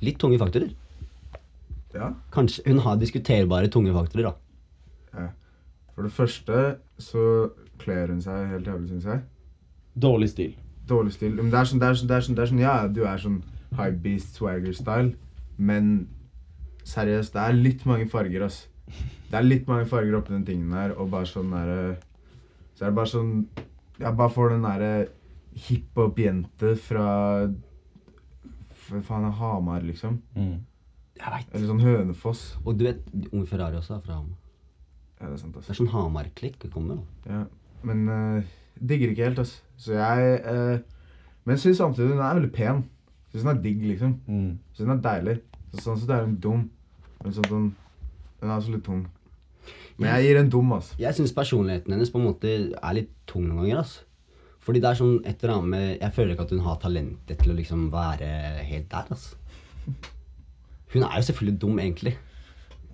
[SPEAKER 4] litt tunge faktorer.
[SPEAKER 3] Ja.
[SPEAKER 4] Kanskje hun har diskuterbare tunge faktorer, da.
[SPEAKER 3] For det første så kler hun seg helt jævlig, syns jeg.
[SPEAKER 2] Dårlig stil.
[SPEAKER 3] Dårlig stil. Men det er sånn, det er sånn, det er sånn, det er sånn ja, du er sånn high beast swagger-style, men seriøst, det er litt mange farger, ass. Det er litt mange farger oppi den tingen her, og bare sånn derre Så er det bare sånn Jeg bare får den eh, derre hiphop-jente fra Hva faen er Hamar, liksom?
[SPEAKER 2] Mm.
[SPEAKER 4] Jeg vet.
[SPEAKER 3] Eller sånn Hønefoss.
[SPEAKER 4] Og du vet, Unge Ferrari også er fra Hamar.
[SPEAKER 3] Ja, det er sant, ass.
[SPEAKER 4] Det er sånn Hamar-klikk vi kommer med. da.
[SPEAKER 3] Ja, men eh, digger ikke helt, altså. Så jeg eh, Men syns samtidig hun er veldig pen. Syns hun er digg, liksom.
[SPEAKER 2] Mm.
[SPEAKER 3] Syns hun er deilig. Så sånn sett er hun dum. Men sånn, sånn Hun er også litt tung. Men jeg gir en dum, altså.
[SPEAKER 4] Jeg syns personligheten hennes på en måte er litt tung noen ganger. ass. Fordi det er sånn et eller annet med Jeg føler ikke at hun har talentet til å liksom være helt der, ass. Hun er jo selvfølgelig dum, egentlig.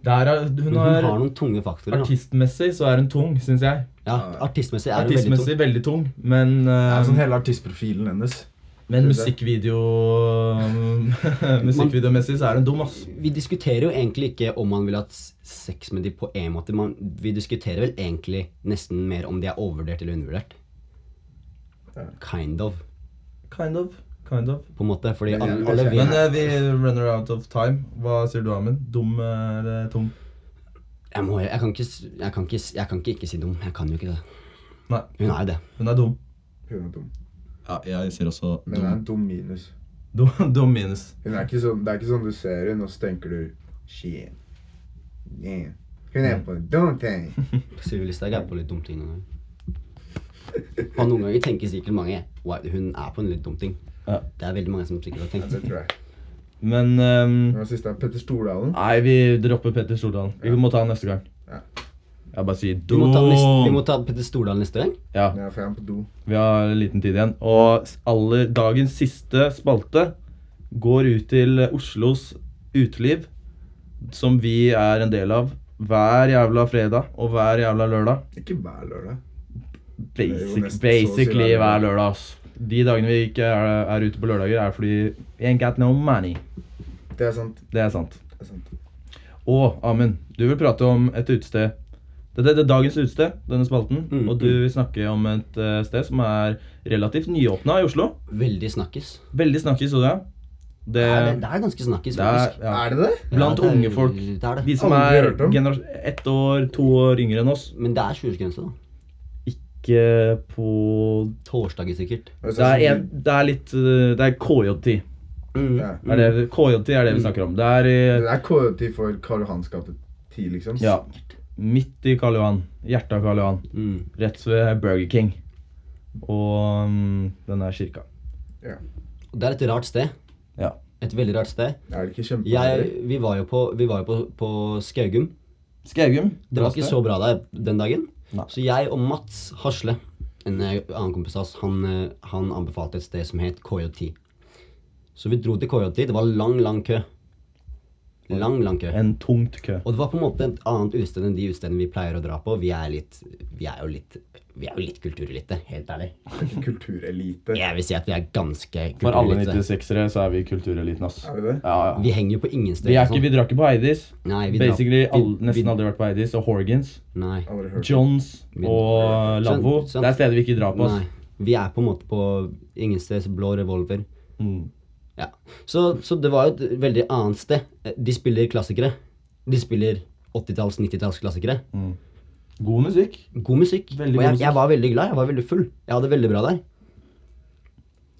[SPEAKER 2] Der er, hun
[SPEAKER 4] Men hun har
[SPEAKER 2] har
[SPEAKER 4] noen tunge faktorer. da.
[SPEAKER 2] Artistmessig så er hun tung, syns jeg.
[SPEAKER 4] Ja, Artistmessig er hun veldig tung.
[SPEAKER 2] Artistmessig veldig tung, men,
[SPEAKER 3] Det
[SPEAKER 2] eh,
[SPEAKER 3] er sånn hele artistprofilen hennes.
[SPEAKER 2] men musikkvideo (laughs) Musikkvideomessig så er hun dum, ass.
[SPEAKER 4] Vi diskuterer jo egentlig ikke om man vil ha s- sex med de på en måte. Man, vi diskuterer vel egentlig nesten mer om de er overvurdert eller undervurdert. Kind of,
[SPEAKER 2] Kind of. Kind of.
[SPEAKER 4] på en måte. Fordi
[SPEAKER 3] Men jeg-
[SPEAKER 4] alle, alle
[SPEAKER 2] Men
[SPEAKER 4] vet
[SPEAKER 2] eh, vi runner out of time. Hva sier du, Amund? Dum eh, eller tung?
[SPEAKER 4] jeg, må, jeg, kan ikke, s- jeg, kan ikke, s- jeg kan ikke ikke si dum. Jeg kan jo ikke det.
[SPEAKER 2] Nei,
[SPEAKER 4] Hun er jo det.
[SPEAKER 2] hun er dum.
[SPEAKER 3] Hun er dum.
[SPEAKER 2] Ja, jeg sier også
[SPEAKER 3] Men det er en dum minus.
[SPEAKER 2] Dum, (laughs) dum minus.
[SPEAKER 3] Hun er ikke sånn, det er ikke sånn du ser henne, og så tenker du Shit. Yeah. Hun er på en dum ting.
[SPEAKER 4] Sylvi Listhaug er på litt dumme ting noen ganger. Og noen ganger tenker sikkert mange wow, hun er på en litt dum ting.
[SPEAKER 2] Ja.
[SPEAKER 4] Det er veldig mange som sikkert har
[SPEAKER 3] Ja,
[SPEAKER 4] tenkt.
[SPEAKER 3] det tror jeg.
[SPEAKER 2] Men ehm,
[SPEAKER 3] Hva er siste? Petter Stordalen?
[SPEAKER 2] Nei, vi dropper Petter Stordalen. Vi må ta han neste gang.
[SPEAKER 3] Ja.
[SPEAKER 2] Jeg bare sier
[SPEAKER 4] Vi må ta, neste, vi
[SPEAKER 2] dum.
[SPEAKER 4] må ta Petter Stordalen neste gang.
[SPEAKER 2] Ja,
[SPEAKER 3] Ja, for jeg er på do.
[SPEAKER 2] vi har liten tid igjen. Og s- aller dagens siste spalte går ut til Oslos uteliv, som vi er en del av hver jævla fredag og hver jævla lørdag.
[SPEAKER 3] Ikke hver lørdag. er jo
[SPEAKER 2] Basic,
[SPEAKER 3] nesten så å si
[SPEAKER 2] basically
[SPEAKER 3] hver
[SPEAKER 2] hver
[SPEAKER 3] lørdag.
[SPEAKER 2] lørdag, ass. De dagene vi ikke er, er ute på lørdager, er fordi we ain't got no money.
[SPEAKER 3] Det er sant.
[SPEAKER 2] Det er sant.
[SPEAKER 3] Det er sant.
[SPEAKER 2] Og Amund, du vil prate om et utested. Dette er dagens utested, denne spalten.
[SPEAKER 4] Mm,
[SPEAKER 2] og du vil snakke om et eh, sted som er relativt nyåpna i Oslo.
[SPEAKER 4] Veldig snakkis.
[SPEAKER 2] Veldig snakkis, så det.
[SPEAKER 4] Det
[SPEAKER 2] Det,
[SPEAKER 4] er, det er ganske snakkis,
[SPEAKER 2] det er,
[SPEAKER 4] faktisk.
[SPEAKER 2] ja.
[SPEAKER 3] Er det det?
[SPEAKER 2] Blant
[SPEAKER 4] Ja, det er-
[SPEAKER 2] unge folk.
[SPEAKER 4] Det er
[SPEAKER 2] De
[SPEAKER 4] det.
[SPEAKER 2] som
[SPEAKER 3] Aldri
[SPEAKER 2] er
[SPEAKER 3] hørt om.
[SPEAKER 2] gener- ett år, to år yngre enn oss.
[SPEAKER 4] Men det er 20-årsgrense, da.
[SPEAKER 2] Ikke på
[SPEAKER 4] Torsdager, sikkert.
[SPEAKER 2] Det
[SPEAKER 6] sånn-
[SPEAKER 2] er, en, det er litt eh, Det er KJ10.
[SPEAKER 4] Mm.
[SPEAKER 3] Ja.
[SPEAKER 2] Mm. Er det, KJ10 er det vi snakker om. Det er i
[SPEAKER 3] Mm. Det er KJT for Karl Johans gate 10, liksom.
[SPEAKER 2] Ja. Midt i Karl Johan. Hjertet av Karl Johan.
[SPEAKER 4] Mm.
[SPEAKER 2] Rett ved Burger King. Og mm, den der kirka.
[SPEAKER 4] Og Det er et rart sted.
[SPEAKER 5] Ja.
[SPEAKER 4] Et veldig rart sted.
[SPEAKER 6] Er det ikke kjempe...
[SPEAKER 4] Jeg, vi var jo på, vi var jo på, på Skaugum.
[SPEAKER 5] Skaugum.
[SPEAKER 4] Det var ikke så bra der den dagen.
[SPEAKER 5] Nei.
[SPEAKER 4] Så jeg og Mats Hasle, en eh, annen kompis av oss, han, eh, han anbefalte et sted som het KJT. Så vi dro til KJT. Det var lang, lang kø. Lang, lang kø.
[SPEAKER 5] En tungt kø.
[SPEAKER 4] Og det var på en måte et annet utested enn de utestedene vi pleier å dra på. Vi er, litt, vi er jo litt Vi er jo litt kulturelite, helt ærlig.
[SPEAKER 6] Er det ikke kulturelite?
[SPEAKER 4] Jeg vil si at vi er ganske
[SPEAKER 5] For alle
[SPEAKER 4] kulturelite.
[SPEAKER 5] 96-ere så er vi kultureliten, ass.
[SPEAKER 6] Er vi det?
[SPEAKER 5] Ja, ja.
[SPEAKER 4] Vi henger jo på ingen
[SPEAKER 5] Vi,
[SPEAKER 4] steder. altså.
[SPEAKER 5] er ikke, vi drar ikke på Heidis.
[SPEAKER 4] Nei, vi drar-
[SPEAKER 5] Basically
[SPEAKER 4] vi-
[SPEAKER 5] all,
[SPEAKER 4] vi-
[SPEAKER 5] nesten aldri vært på Heidis. Og Horgans,
[SPEAKER 4] Nei.
[SPEAKER 6] Aldri hørt.
[SPEAKER 5] Johns og Lavvo.
[SPEAKER 4] Sånn- sånn-
[SPEAKER 5] Det er steder vi ikke drar på. ass.
[SPEAKER 4] Nei. Vi er på en måte på ingensteds blå revolver.
[SPEAKER 5] Mm.
[SPEAKER 4] Ja. Så, så det var jo et veldig annet sted. Eh, De spiller klassikere. De spiller 80-talls, 90-talls klassikere.
[SPEAKER 5] God musikk.
[SPEAKER 4] God musikk.
[SPEAKER 5] Mm. Veldig
[SPEAKER 4] og
[SPEAKER 5] god
[SPEAKER 4] jeg,
[SPEAKER 5] musikk.
[SPEAKER 4] jeg var veldig glad. Jeg var veldig full. Jeg hadde det veldig bra der.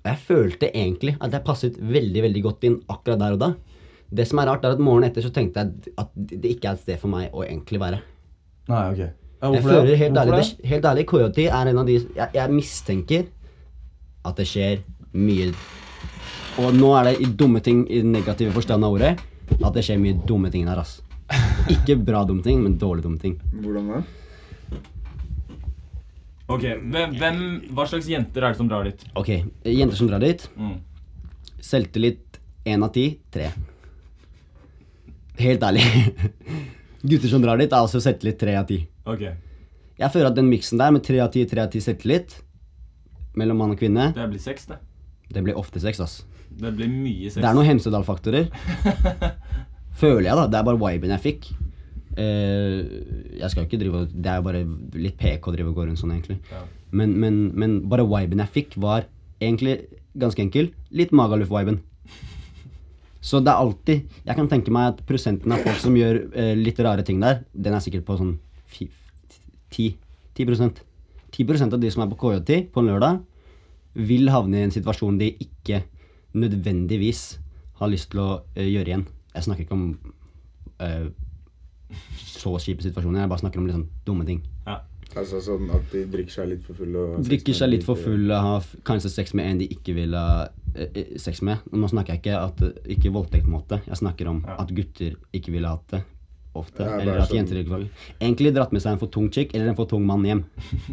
[SPEAKER 4] Og Jeg følte egentlig at jeg passet veldig veldig godt inn akkurat der og da. Det som er rart, er at morgenen etter så tenkte jeg at det ikke er et sted for meg å egentlig være.
[SPEAKER 5] Nei, ok. Ja,
[SPEAKER 4] Jeg
[SPEAKER 5] hvorfor
[SPEAKER 4] føler
[SPEAKER 5] det?
[SPEAKER 4] helt ærlig,
[SPEAKER 5] Hvorfor
[SPEAKER 4] det, helt ærlig KJT er en av de jeg, jeg mistenker at det skjer mye Og nå er det i dumme ting i den negative forstand av ordet at det skjer mye dumme ting
[SPEAKER 5] (laughs)
[SPEAKER 4] der, ass. Ikke bra dumme ting, men dårlig dumme ting.
[SPEAKER 6] Hvordan da?
[SPEAKER 2] Ok, hvem, hvem, Hva slags jenter er det som drar dit?
[SPEAKER 4] Ok, jenter som drar dit.
[SPEAKER 2] Mm.
[SPEAKER 4] Selvtillit én av ti. Tre. Helt ærlig. (laughs) Gutter som drar dit, er altså selvtillit tre av ti.
[SPEAKER 2] Ok,
[SPEAKER 4] Jeg føler at den miksen der med tre av ti, tre av ti selvtillit mellom mann og kvinne,
[SPEAKER 2] Det blir sex, det.
[SPEAKER 4] det blir ofte sex, ass.
[SPEAKER 2] Det blir mye sex.
[SPEAKER 4] Det er noen
[SPEAKER 2] (laughs)
[SPEAKER 4] Hemsedal-faktorer. Føler jeg, da. Det er bare viben jeg fikk. Eh, jeg skal ikke drive og Det er jo bare litt PK å drive og gå rundt sånn, egentlig.
[SPEAKER 2] Ja.
[SPEAKER 4] Men, men, men bare viben jeg fikk, var egentlig ganske enkel. Litt Magaluf-viben. Så det er alltid Jeg kan tenke meg at prosenten av folk som gjør eh, litt rare ting der, den er sikkert på sånn fi, ti, 10 10 av de som er på KJT på en lørdag, vil havne i en situasjon de ikke nødvendigvis har lyst til å eh, gjøre igjen. Jeg snakker ikke om eh, så kjipe situasjoner, jeg bare snakker om litt sånn dumme ting.
[SPEAKER 2] Ja.
[SPEAKER 6] Altså sånn at de drikker seg litt for fulle og
[SPEAKER 4] Drikker seg litt for fulle, har f- kanskje sex med en de ikke vil ha eh, eh, sex med. Nå snakker jeg ikke at eh, ikke voldtektmåte, jeg snakker om
[SPEAKER 2] Ja.
[SPEAKER 4] at gutter ikke ville hatt det ofte.
[SPEAKER 6] Ja, bare
[SPEAKER 4] eller at
[SPEAKER 6] sånn-
[SPEAKER 4] jenter ikke vil Egentlig dratt med seg en for tung chick eller en for tung mann hjem.
[SPEAKER 6] (laughs)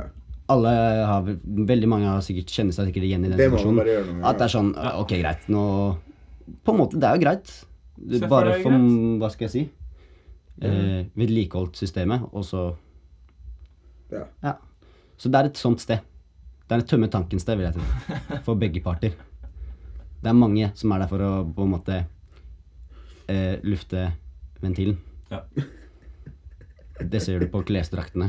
[SPEAKER 6] Ja.
[SPEAKER 4] Alle har, vel- veldig mange har sikkert, kjenner seg sikkert igjen i den
[SPEAKER 6] Det må man
[SPEAKER 4] situasjonen.
[SPEAKER 6] bare gjøre noe med,
[SPEAKER 4] At det er sånn Ok, greit, nå På en måte, det er jo greit.
[SPEAKER 2] for
[SPEAKER 4] Bare
[SPEAKER 2] deg,
[SPEAKER 4] for
[SPEAKER 2] greit.
[SPEAKER 4] Hva skal jeg si? Eh, vedlikeholdt systemet, og så
[SPEAKER 6] Ja.
[SPEAKER 4] ja. Så det er et sånt sted. Det er et tømme tanken-sted, vil jeg tro. For begge parter. Det er mange som er der for å på en måte eh, lufte ventilen.
[SPEAKER 2] Ja.
[SPEAKER 4] Det ser du på klesdraktene.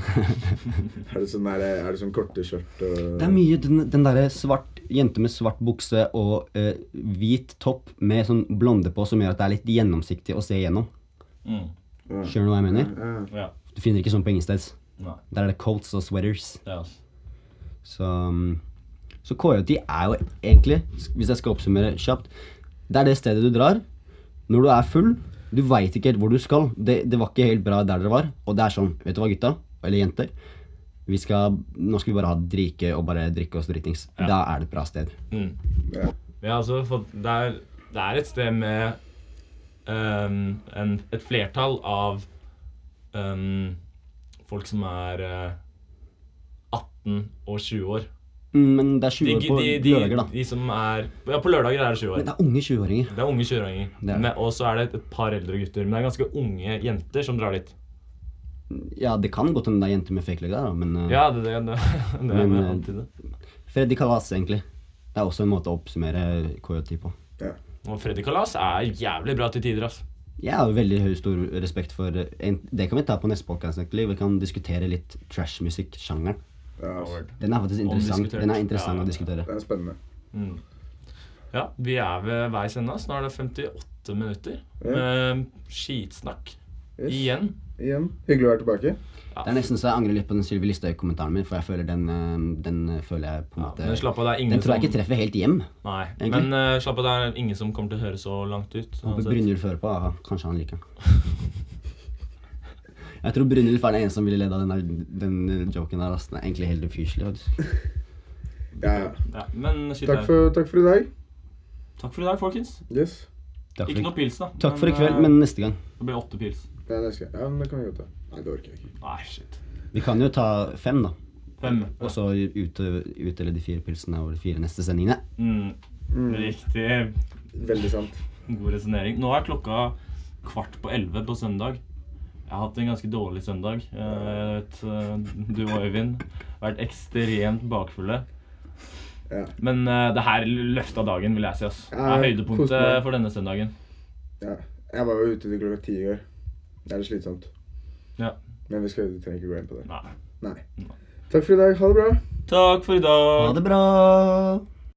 [SPEAKER 4] (laughs)
[SPEAKER 6] Er det sånn, der, er det sånn korte skjørt og
[SPEAKER 4] Det er mye den, den derre svart Jente med svart bukse og eh, hvit topp med sånn blonde på som gjør at det er litt gjennomsiktig å se igjennom.
[SPEAKER 2] Mm.
[SPEAKER 4] Skjønner du hva jeg mener?
[SPEAKER 6] ja.
[SPEAKER 2] Ja.
[SPEAKER 4] Du finner ikke sånn på ingensteds.
[SPEAKER 2] Nei.
[SPEAKER 4] Der er det coats og sweaters.
[SPEAKER 2] Det er altså.
[SPEAKER 4] Så, um, så KJT er jo egentlig, hvis jeg skal oppsummere kjapt Det er det stedet du drar når du er full. Du veit ikke helt hvor du skal. Det, det var ikke helt bra der dere var. Og det er sånn, vet du hva, gutta? Eller jenter. Vi skal, nå skal vi bare ha drike og bare drikke oss dritings. Da er det et bra sted.
[SPEAKER 2] Ja, altså, for det er, det er et sted med ehm, en, et flertall av ehm, folk som er eh, 18 og 20 år.
[SPEAKER 4] Mm, Men det er
[SPEAKER 2] De,
[SPEAKER 4] 20 år
[SPEAKER 2] de,
[SPEAKER 4] på
[SPEAKER 2] de,
[SPEAKER 4] lørdager,
[SPEAKER 2] de,
[SPEAKER 4] da.
[SPEAKER 2] de som er Ja, på lørdager er det 20
[SPEAKER 4] Men
[SPEAKER 2] år.
[SPEAKER 4] det er unge 20-åringer.
[SPEAKER 2] Det er unge 20-åringer.
[SPEAKER 4] Det er det.
[SPEAKER 2] Men- Og så er det et par eldre gutter. Men det er ganske unge jenter som drar dit.
[SPEAKER 4] Ja, det kan godt hende det er jenter med fake leg der, da, men uh,
[SPEAKER 2] Ja, det, (laughs) det, det, det er
[SPEAKER 4] Men,
[SPEAKER 2] med
[SPEAKER 4] eh,
[SPEAKER 2] antydet.
[SPEAKER 4] Freddy Kalas, egentlig. Det er også en måte å oppsummere KJT på.
[SPEAKER 2] Og Freddy Kalas er jævlig bra til tider, altså. ass.
[SPEAKER 4] Jeg har jo veldig høy stor respekt for eh, en, Det kan vi ta på neste podcast, egentlig. Vi kan diskutere litt trashmusikk-sjangeren.
[SPEAKER 6] Ja, altså.
[SPEAKER 4] Den er faktisk interessant,
[SPEAKER 2] Omdiskutert.
[SPEAKER 4] den er
[SPEAKER 2] Ja.
[SPEAKER 4] interessant å diskutere.
[SPEAKER 6] Det er spennende.
[SPEAKER 2] Ja, vi er ved veis ende. ass. Nå er det 58 minutter med skitsnakk.
[SPEAKER 6] Yes.
[SPEAKER 2] Igjen.
[SPEAKER 6] Igjen, hyggelig å være tilbake.
[SPEAKER 4] Det er nesten så jeg angrer litt på den Sylvi Listhaug-kommentaren min, for jeg føler den, eh, den eh, føler jeg på en måte
[SPEAKER 2] Men slapp av, det er ingen
[SPEAKER 4] Den tror jeg ikke
[SPEAKER 2] som
[SPEAKER 4] treffer helt hjem.
[SPEAKER 2] Nei,
[SPEAKER 4] egentlig.
[SPEAKER 2] men eh, slapp av, det er ingen som kommer til å høre så langt ut.
[SPEAKER 4] Håper
[SPEAKER 2] uansett.
[SPEAKER 4] Brynjulf hører på. Aha, kanskje han liker den. Jeg tror Brynjulf er den eneste som ville ledd av den, der, den joken der. ass. Den er egentlig helt ufyselig. faktisk.
[SPEAKER 6] Ja, ja.
[SPEAKER 2] Ja, men shit, det
[SPEAKER 6] Takk
[SPEAKER 2] er-
[SPEAKER 6] for, takk for i dag.
[SPEAKER 2] Takk for i dag, folkens.
[SPEAKER 3] Yes.
[SPEAKER 4] Takk
[SPEAKER 2] Ikke
[SPEAKER 4] for,
[SPEAKER 2] noe pils, da.
[SPEAKER 4] takk for i
[SPEAKER 2] Men,
[SPEAKER 4] kveld,
[SPEAKER 2] eh,
[SPEAKER 4] men neste gang.
[SPEAKER 2] Det blir åtte pils.
[SPEAKER 3] Ja, det skal jeg. Ja, men det kan vi godt ta. Nei, det orker jeg ikke.
[SPEAKER 2] Nei, shit.
[SPEAKER 4] Vi kan jo ta fem, da.
[SPEAKER 2] Fem.
[SPEAKER 4] Og så ut- utdele de fire pilsene over de fire neste sendingene.
[SPEAKER 2] Mm. Riktig.
[SPEAKER 3] Veldig sant.
[SPEAKER 2] God resonnering. Nå er klokka kvart på elleve på søndag. Jeg har hatt en ganske dårlig søndag. Eh, Jeg vet, eh, du og Øyvind har vært ekstremt bakfulle.
[SPEAKER 3] Ja.
[SPEAKER 2] Men eh, det her løfta dagen, vil jeg si. ass. Det er
[SPEAKER 3] Ja, kos
[SPEAKER 2] høydepunktet
[SPEAKER 3] meg.
[SPEAKER 2] for denne søndagen.
[SPEAKER 3] Ja. Jeg var jo ute til klokka ti i går. Det er litt slitsomt.
[SPEAKER 2] Ja.
[SPEAKER 3] Men vi skal, vi trenger ikke gå inn på det.
[SPEAKER 2] Nei.
[SPEAKER 3] Nei. Takk for i dag. Ha det bra.
[SPEAKER 2] 아, Takk for i dag.
[SPEAKER 4] Ha det bra!